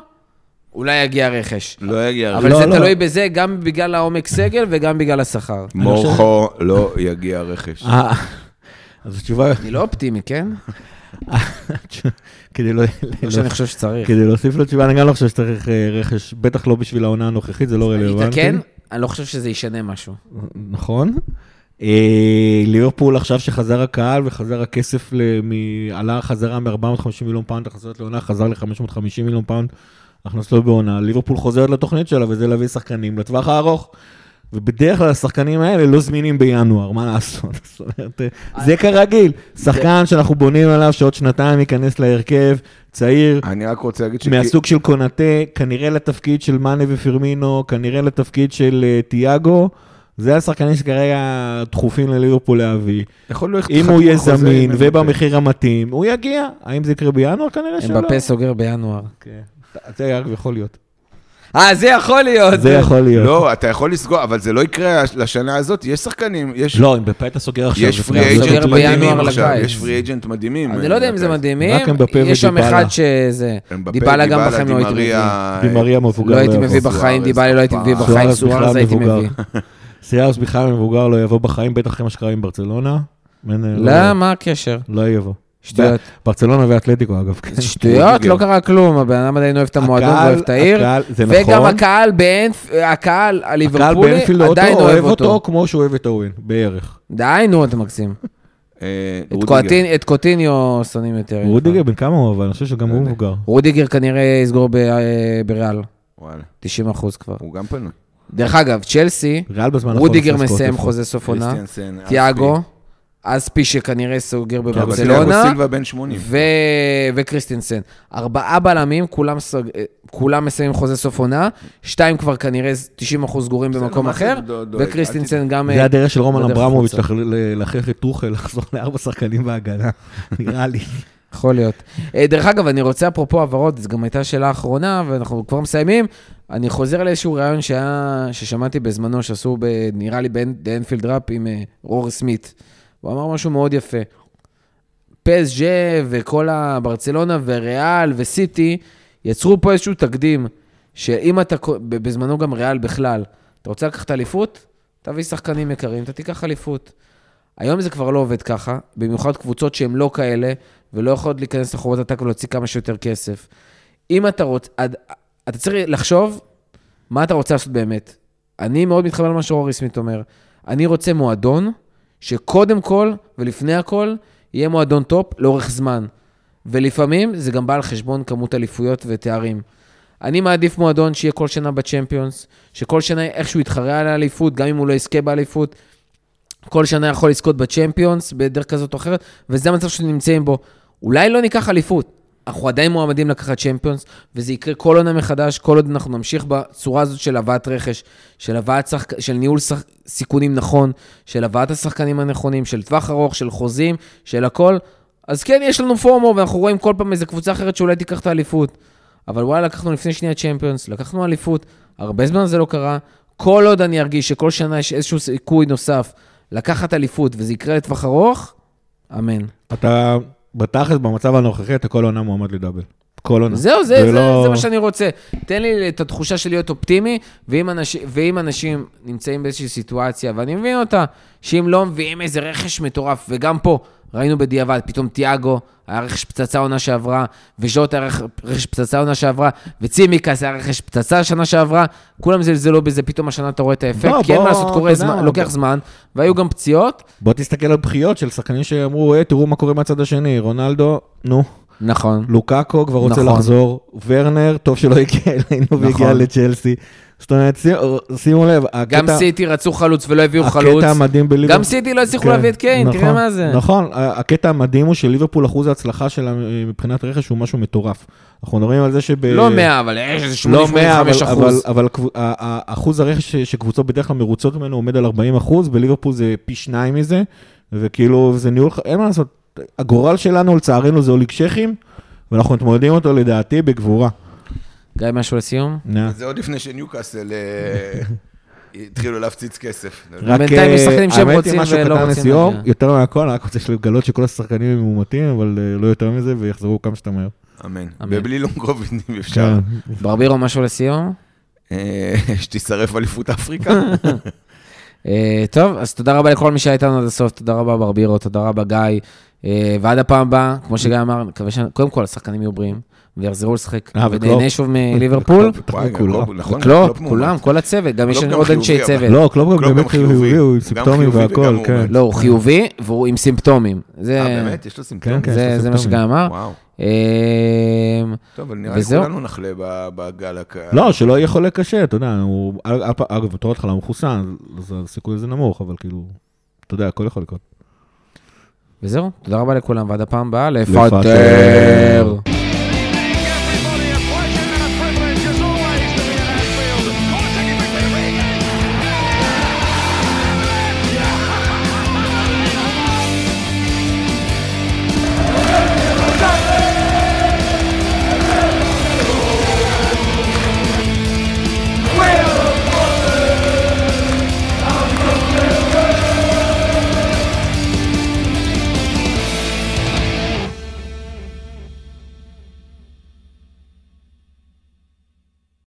Speaker 1: אולי יגיע רכש.
Speaker 3: לא יגיע
Speaker 1: אבל
Speaker 3: רכש.
Speaker 2: לא,
Speaker 1: זה
Speaker 2: לא.
Speaker 1: תלוי בזה גם בגלל העומק סגל וגם בגלל השכר.
Speaker 3: מורכו לא יגיע רכש.
Speaker 2: אה, אז התשובה...
Speaker 1: אני לא אופטימי, כן?
Speaker 2: כדי לא...
Speaker 1: לא שאני חושב שצריך.
Speaker 2: כדי להוסיף לתשובה, אני גם לא חושב שצריך אה, רכש, בטח לא בשביל העונה הנוכחית, זה לא רלוונטי.
Speaker 1: יתקן, אני לא חושב שזה ישנה משהו.
Speaker 2: נכון. אה, ליברפול עכשיו שחזר הקהל וחזר הכסף, ל- מ- עלה חזרה מ-450 מיליון פאונד הכנסות לעונה, חזר ל-550 מיליון פאונד הכנסות בעונה. ליברפול חוזרת לתוכנית שלה, וזה להביא שחקנים לטווח הארוך. ובדרך כלל השחקנים האלה לא זמינים בינואר, מה לעשות? זאת אומרת, אה, זה כרגיל, שחקן שאנחנו בונים עליו שעוד שנתיים ייכנס להרכב, צעיר,
Speaker 3: אני רק רוצה להגיד שכי-
Speaker 2: מהסוג של קונאטה, כנראה לתפקיד של מאנה ופרמינו, כנראה לתפקיד של אה, תיאגו. זה השחקנים שכרגע דחופים לליברפול להביא.
Speaker 3: יכול להיות
Speaker 2: אם
Speaker 3: חתמו
Speaker 2: הוא יהיה
Speaker 3: חוזה עם
Speaker 2: זמין
Speaker 3: אמבפה.
Speaker 2: ובמחיר המתאים, הוא יגיע. האם זה יקרה בינואר? כנראה
Speaker 1: הם
Speaker 2: לא שלא.
Speaker 1: בפה סוגר בינואר.
Speaker 2: כן. זה יכול להיות.
Speaker 1: אה, זה יכול להיות.
Speaker 2: זה יכול להיות.
Speaker 3: לא, אתה יכול לסגור, אבל זה לא יקרה לשנה הזאת, יש שחקנים, יש...
Speaker 2: לא, אם בפה אתה סוגר עכשיו.
Speaker 3: יש
Speaker 2: זה
Speaker 3: פרי
Speaker 2: כבר-
Speaker 1: סוגר
Speaker 3: אייג'נט
Speaker 1: בינואר
Speaker 3: מדהימים עכשיו,
Speaker 1: לקיץ.
Speaker 3: יש פרי אייג'נט מדהימים.
Speaker 1: אני לא יודע אם זה
Speaker 3: לקיץ.
Speaker 1: מדהימים,
Speaker 2: רק אמבפה
Speaker 1: יש שם
Speaker 2: ודיבאלה.
Speaker 1: אחד שזה...
Speaker 3: אמבפה,
Speaker 1: דיבאלה גם
Speaker 3: דיבאלה,
Speaker 1: בחיים לא הייתי מביא.
Speaker 3: דימריה,
Speaker 2: די מריה מבוגר.
Speaker 1: לא הייתי
Speaker 2: יבוא.
Speaker 1: מביא בחיים,
Speaker 3: סוארז,
Speaker 1: דיבאלה לא הייתי מביא
Speaker 3: סוארז
Speaker 1: בחיים,
Speaker 2: בכלל
Speaker 1: סוארז הייתי
Speaker 2: מבוגר.
Speaker 1: מביא.
Speaker 2: סיארס בכלל מבוגר לא יבוא בחיים, בטח אחרי מה שקרה עם ברצלונה. אין, אה, לא-
Speaker 1: למה? מה הקשר?
Speaker 2: לא יבוא.
Speaker 1: שטויות.
Speaker 2: ברצלונה ואתלטיקו, אגב. כן.
Speaker 1: זה שטויות, לא קרה כלום, הבן אדם עדיין אוהב את המועדון,
Speaker 2: הקהל-
Speaker 1: אוהב את העיר.
Speaker 2: הקהל- זה
Speaker 1: וגם
Speaker 2: נכון.
Speaker 1: הקהל באנפ... הקהל
Speaker 2: הקהל
Speaker 1: הליברפולי
Speaker 2: באנפילד אותו
Speaker 1: עדיין
Speaker 2: אוהב אותו כמו שהוא אוהב את אוהן, בערך.
Speaker 1: די, נו, אתה מקסים.
Speaker 3: אה,
Speaker 1: את
Speaker 3: רודיגר.
Speaker 1: קואטין- את קוטיניו שונאים יותר. אני
Speaker 2: רודיגר
Speaker 1: חושב.
Speaker 2: בן כמה הוא אבל, אני חושב שגם הוא מבוגר.
Speaker 1: רודיגר כנראה יסגור ב- אה, בריאל,
Speaker 3: וואלה,
Speaker 1: 90 אחוז כבר.
Speaker 3: הוא גם פנוי.
Speaker 1: דרך אגב, צ'לסי,
Speaker 2: ריאל בזמן האחרון
Speaker 1: רודיגר
Speaker 2: עושה סקוט
Speaker 1: מסיים
Speaker 2: יפה.
Speaker 1: חוזה סוף עונה,
Speaker 3: קריסטיאנסן, אספי.
Speaker 1: תיאגו, אספי שכנראה סוגר
Speaker 3: אבל
Speaker 1: בברצלונה.
Speaker 3: תיאגו סילבה בן 80.
Speaker 1: ו- וקריסטינסן. ארבעה בלמים, כולם, סוג... אה, כולם מסיימים חוזה סוף עונה, שתיים כבר כנראה 90% סגורים
Speaker 3: בסדר,
Speaker 1: במקום
Speaker 3: מה זה
Speaker 1: אחר,
Speaker 3: דו- דואג? אל
Speaker 1: וקריסטינסן גם... אה,
Speaker 2: זה הדרך של רומן
Speaker 1: בדרך
Speaker 2: אברמוביץ'
Speaker 1: החוצה.
Speaker 2: לח- ל- להכריח את טרוחל לחזור לארבע שחקנים בהגנה, נראה לי.
Speaker 1: יכול להיות. אה, דרך אגב, אני רוצה, אפרופו העברות, זו גם הייתה שאלה אחרונה, ואנחנו כבר מסיימים. אני חוזר לאיזשהו ראיון שהיה, ששמעתי בזמנו, שעשו, ב, נראה לי, באנפילד ראפ עם אה, רור סמית. הוא אמר משהו מאוד יפה. פסג'ה וכל הברצלונה וריאל וסיטי יצרו פה איזשהו תקדים, שאם אתה, ק- ב- בזמנו גם ריאל בכלל, אתה רוצה לקחת אליפות, תביא שחקנים יקרים, אתה תיקח אליפות. היום זה כבר לא עובד ככה, במיוחד קבוצות שהן לא כאלה, ולא יכולות להיכנס לחובות עתק ולהוציא כמה שיותר כסף. אם אתה רוצה, אתה צריך לחשוב מה אתה רוצה לעשות באמת. אני מאוד מתחבר למה שאורי סמית אומר. אני רוצה מועדון שקודם כל ולפני הכל יהיה מועדון טופ לאורך זמן. ולפעמים זה גם בא על חשבון כמות אליפויות ותארים. אני מעדיף מועדון שיהיה כל שנה בצ'מפיונס, שכל שנה איכשהו יתחרה על האליפות, גם אם הוא לא יזכה באליפות, כל שנה יכול לזכות בצ'מפיונס בדרך כזאת או אחרת, וזה המצב שאנחנו נמצאים בו. אולי לא ניקח אליפות, אנחנו עדיין מועמדים לקחת צ'מפיונס, וזה יקרה כל עונה מחדש, כל עוד אנחנו נמשיך בצורה הזאת של הבאת רכש, של, הבאת שחק... של ניהול שח... סיכונים נכון, של הבאת השחקנים הנכונים, של טווח ארוך, של חוזים, של הכל. אז כן, יש לנו פומו, ואנחנו רואים כל פעם איזה קבוצה אחרת שאולי תיקח את האליפות. אבל וואלה, לקחנו לפני שנייה צ'מפיונס, לקחנו אליפות, הרבה זמן זה לא קרה. כל עוד אני ארגיש שכל שנה יש איזשהו סיכוי נוסף לקחת אליפות, וזה יקרה לטווח ארוך, אמן.
Speaker 2: אתה, בתכלס, במצב הנוכחי, אתה כל עונה מועמד לדאבל. כל עונה.
Speaker 1: זהו, זה, זה,
Speaker 2: ולא-
Speaker 1: זה מה שאני רוצה. תן לי את התחושה של להיות אופטימי, ואם אנשים, ואם אנשים נמצאים באיזושהי סיטואציה, ואני מבין אותה, שאם לא מביאים איזה רכש מטורף, וגם פה, ראינו בדיעבד, פתאום תיאגו, היה רכש פצצה עונה שעברה, וז'וט היה רכ- רכש פצצה עונה שעברה, וצימקס היה רכש פצצה שנה שעברה, כולם זלזלו בזה, פתאום השנה אתה רואה את האפקט,
Speaker 2: בוא,
Speaker 1: כי אין
Speaker 2: לא, בוא,
Speaker 1: מה לעשות,
Speaker 2: אתה
Speaker 1: קורה
Speaker 2: יודע,
Speaker 1: זמן,
Speaker 2: בוא.
Speaker 1: לוקח זמן, והיו גם פציעות.
Speaker 2: בוא תסתכל על בכיות של שחקנים שאמרו, אה, תראו מה קורה מהצד השני, רונלדו, נו,
Speaker 1: נכון.
Speaker 2: לוקאקו כבר רוצה
Speaker 1: נכון.
Speaker 2: לחזור, ורנר, טוב שלא הגיע אלינו והגיע
Speaker 1: נכון.
Speaker 2: לצ'לסי. זאת אומרת, שימו- שימו לב, הקטע...
Speaker 1: גם סיטי רצו חלוץ ולא הביאו חלוץ.
Speaker 2: הקטע המדהים בליברפול...
Speaker 1: גם סיטי לא הצליחו
Speaker 2: כן,
Speaker 1: להביא את קיין, תראה
Speaker 2: נכון,
Speaker 1: מה זה.
Speaker 2: נכון, ה- הקטע המדהים הוא שליברפול אחוז ההצלחה שלה אה, מבחינת רכש הוא משהו מטורף. אנחנו מדברים על זה שב...
Speaker 1: לא 100, אבל יש איזה
Speaker 2: אה, לא 100, אבל,
Speaker 1: 85
Speaker 2: אבל,
Speaker 1: אחוז.
Speaker 2: אבל קבו- ה- ה- אחוז הרכש ש- שקבוצות בדרך כלל מרוצות ממנו עומד על 40 אחוז, בליברפול זה פי שניים מזה, וכאילו זה ניהול, ח- אין מה לעשות, הגורל שלנו לצערנו זה אוליג שכים, ואנחנו מתמודדים אותו לדעתי בגבורה.
Speaker 1: גיא, משהו לסיום?
Speaker 2: נה.
Speaker 3: זה עוד לפני שניוקאסל אה, התחילו להפציץ כסף.
Speaker 1: בינתיים יש
Speaker 2: אה,
Speaker 1: שחקנים שהם
Speaker 2: האמת היא,
Speaker 1: רוצים
Speaker 2: משהו
Speaker 1: ולא
Speaker 2: קטן
Speaker 1: רוצים
Speaker 2: לסיום,
Speaker 1: להגיע.
Speaker 2: יותר לא מהכל, רק רוצה לגלות שכל השחקנים הם מאומתים, אבל אה, לא יותר מזה, ויחזרו כמה שיותר מהר.
Speaker 3: אמן.
Speaker 1: אמן.
Speaker 3: ובלי לונגוביץ' אם
Speaker 2: כן.
Speaker 3: אפשר.
Speaker 2: אה.
Speaker 1: ברבירו, משהו לסיום?
Speaker 3: אה, שתישרף אליפות אפריקה.
Speaker 1: אה, טוב, אז תודה רבה לכל מי שהיה איתנו עד הסוף, תודה רבה ברבירו, תודה רבה גיא. אה, ועד הפעם הבאה, כמו שגיא אמר, נקווה ש... קודם כל השחקנים יהיו בריאים, ויחזרו לשחק,
Speaker 2: אה, וקלופ.
Speaker 1: ונהנה שוב מליברפול.
Speaker 3: וואי,
Speaker 2: כולם.
Speaker 3: קלופ, נכון,
Speaker 1: קלופ,
Speaker 3: קלופ מועמד.
Speaker 1: לא, כולם, כל הצוות, גם יש
Speaker 3: קלופ גם
Speaker 1: עוד אנשי
Speaker 3: חיובי, אבל-
Speaker 1: צוות.
Speaker 2: לא, קלופ
Speaker 3: קלופ
Speaker 2: גם באמת חיובי, הוא עם סימפטומים
Speaker 3: חיובי וגם
Speaker 2: והכל, כן.
Speaker 3: מאומת.
Speaker 1: לא, הוא חיובי, והוא עם סימפטומים. זה-
Speaker 3: אה, באמת? יש לו סימפטום?
Speaker 2: כן,
Speaker 1: זה-
Speaker 2: יש לו
Speaker 1: זה מה שגיא
Speaker 2: סימפטומים.
Speaker 1: אמר.
Speaker 3: וואו.
Speaker 1: אה,
Speaker 3: טוב, אבל נראה לי
Speaker 1: וזהו.
Speaker 3: כולנו נחלה ב- בגל הק...
Speaker 2: לא, שלא יהיה חולה קשה, אתה יודע, הוא... על- על- אגב, בתור התחלה הוא מחוסן, אז הסיכוי הזה נמוך, אבל כאילו, אתה יודע, הכל יכול לקרות.
Speaker 1: וזהו, תודה רבה לכולם, ועד הפעם הבאה,
Speaker 2: לפטר.
Speaker 1: לפטר.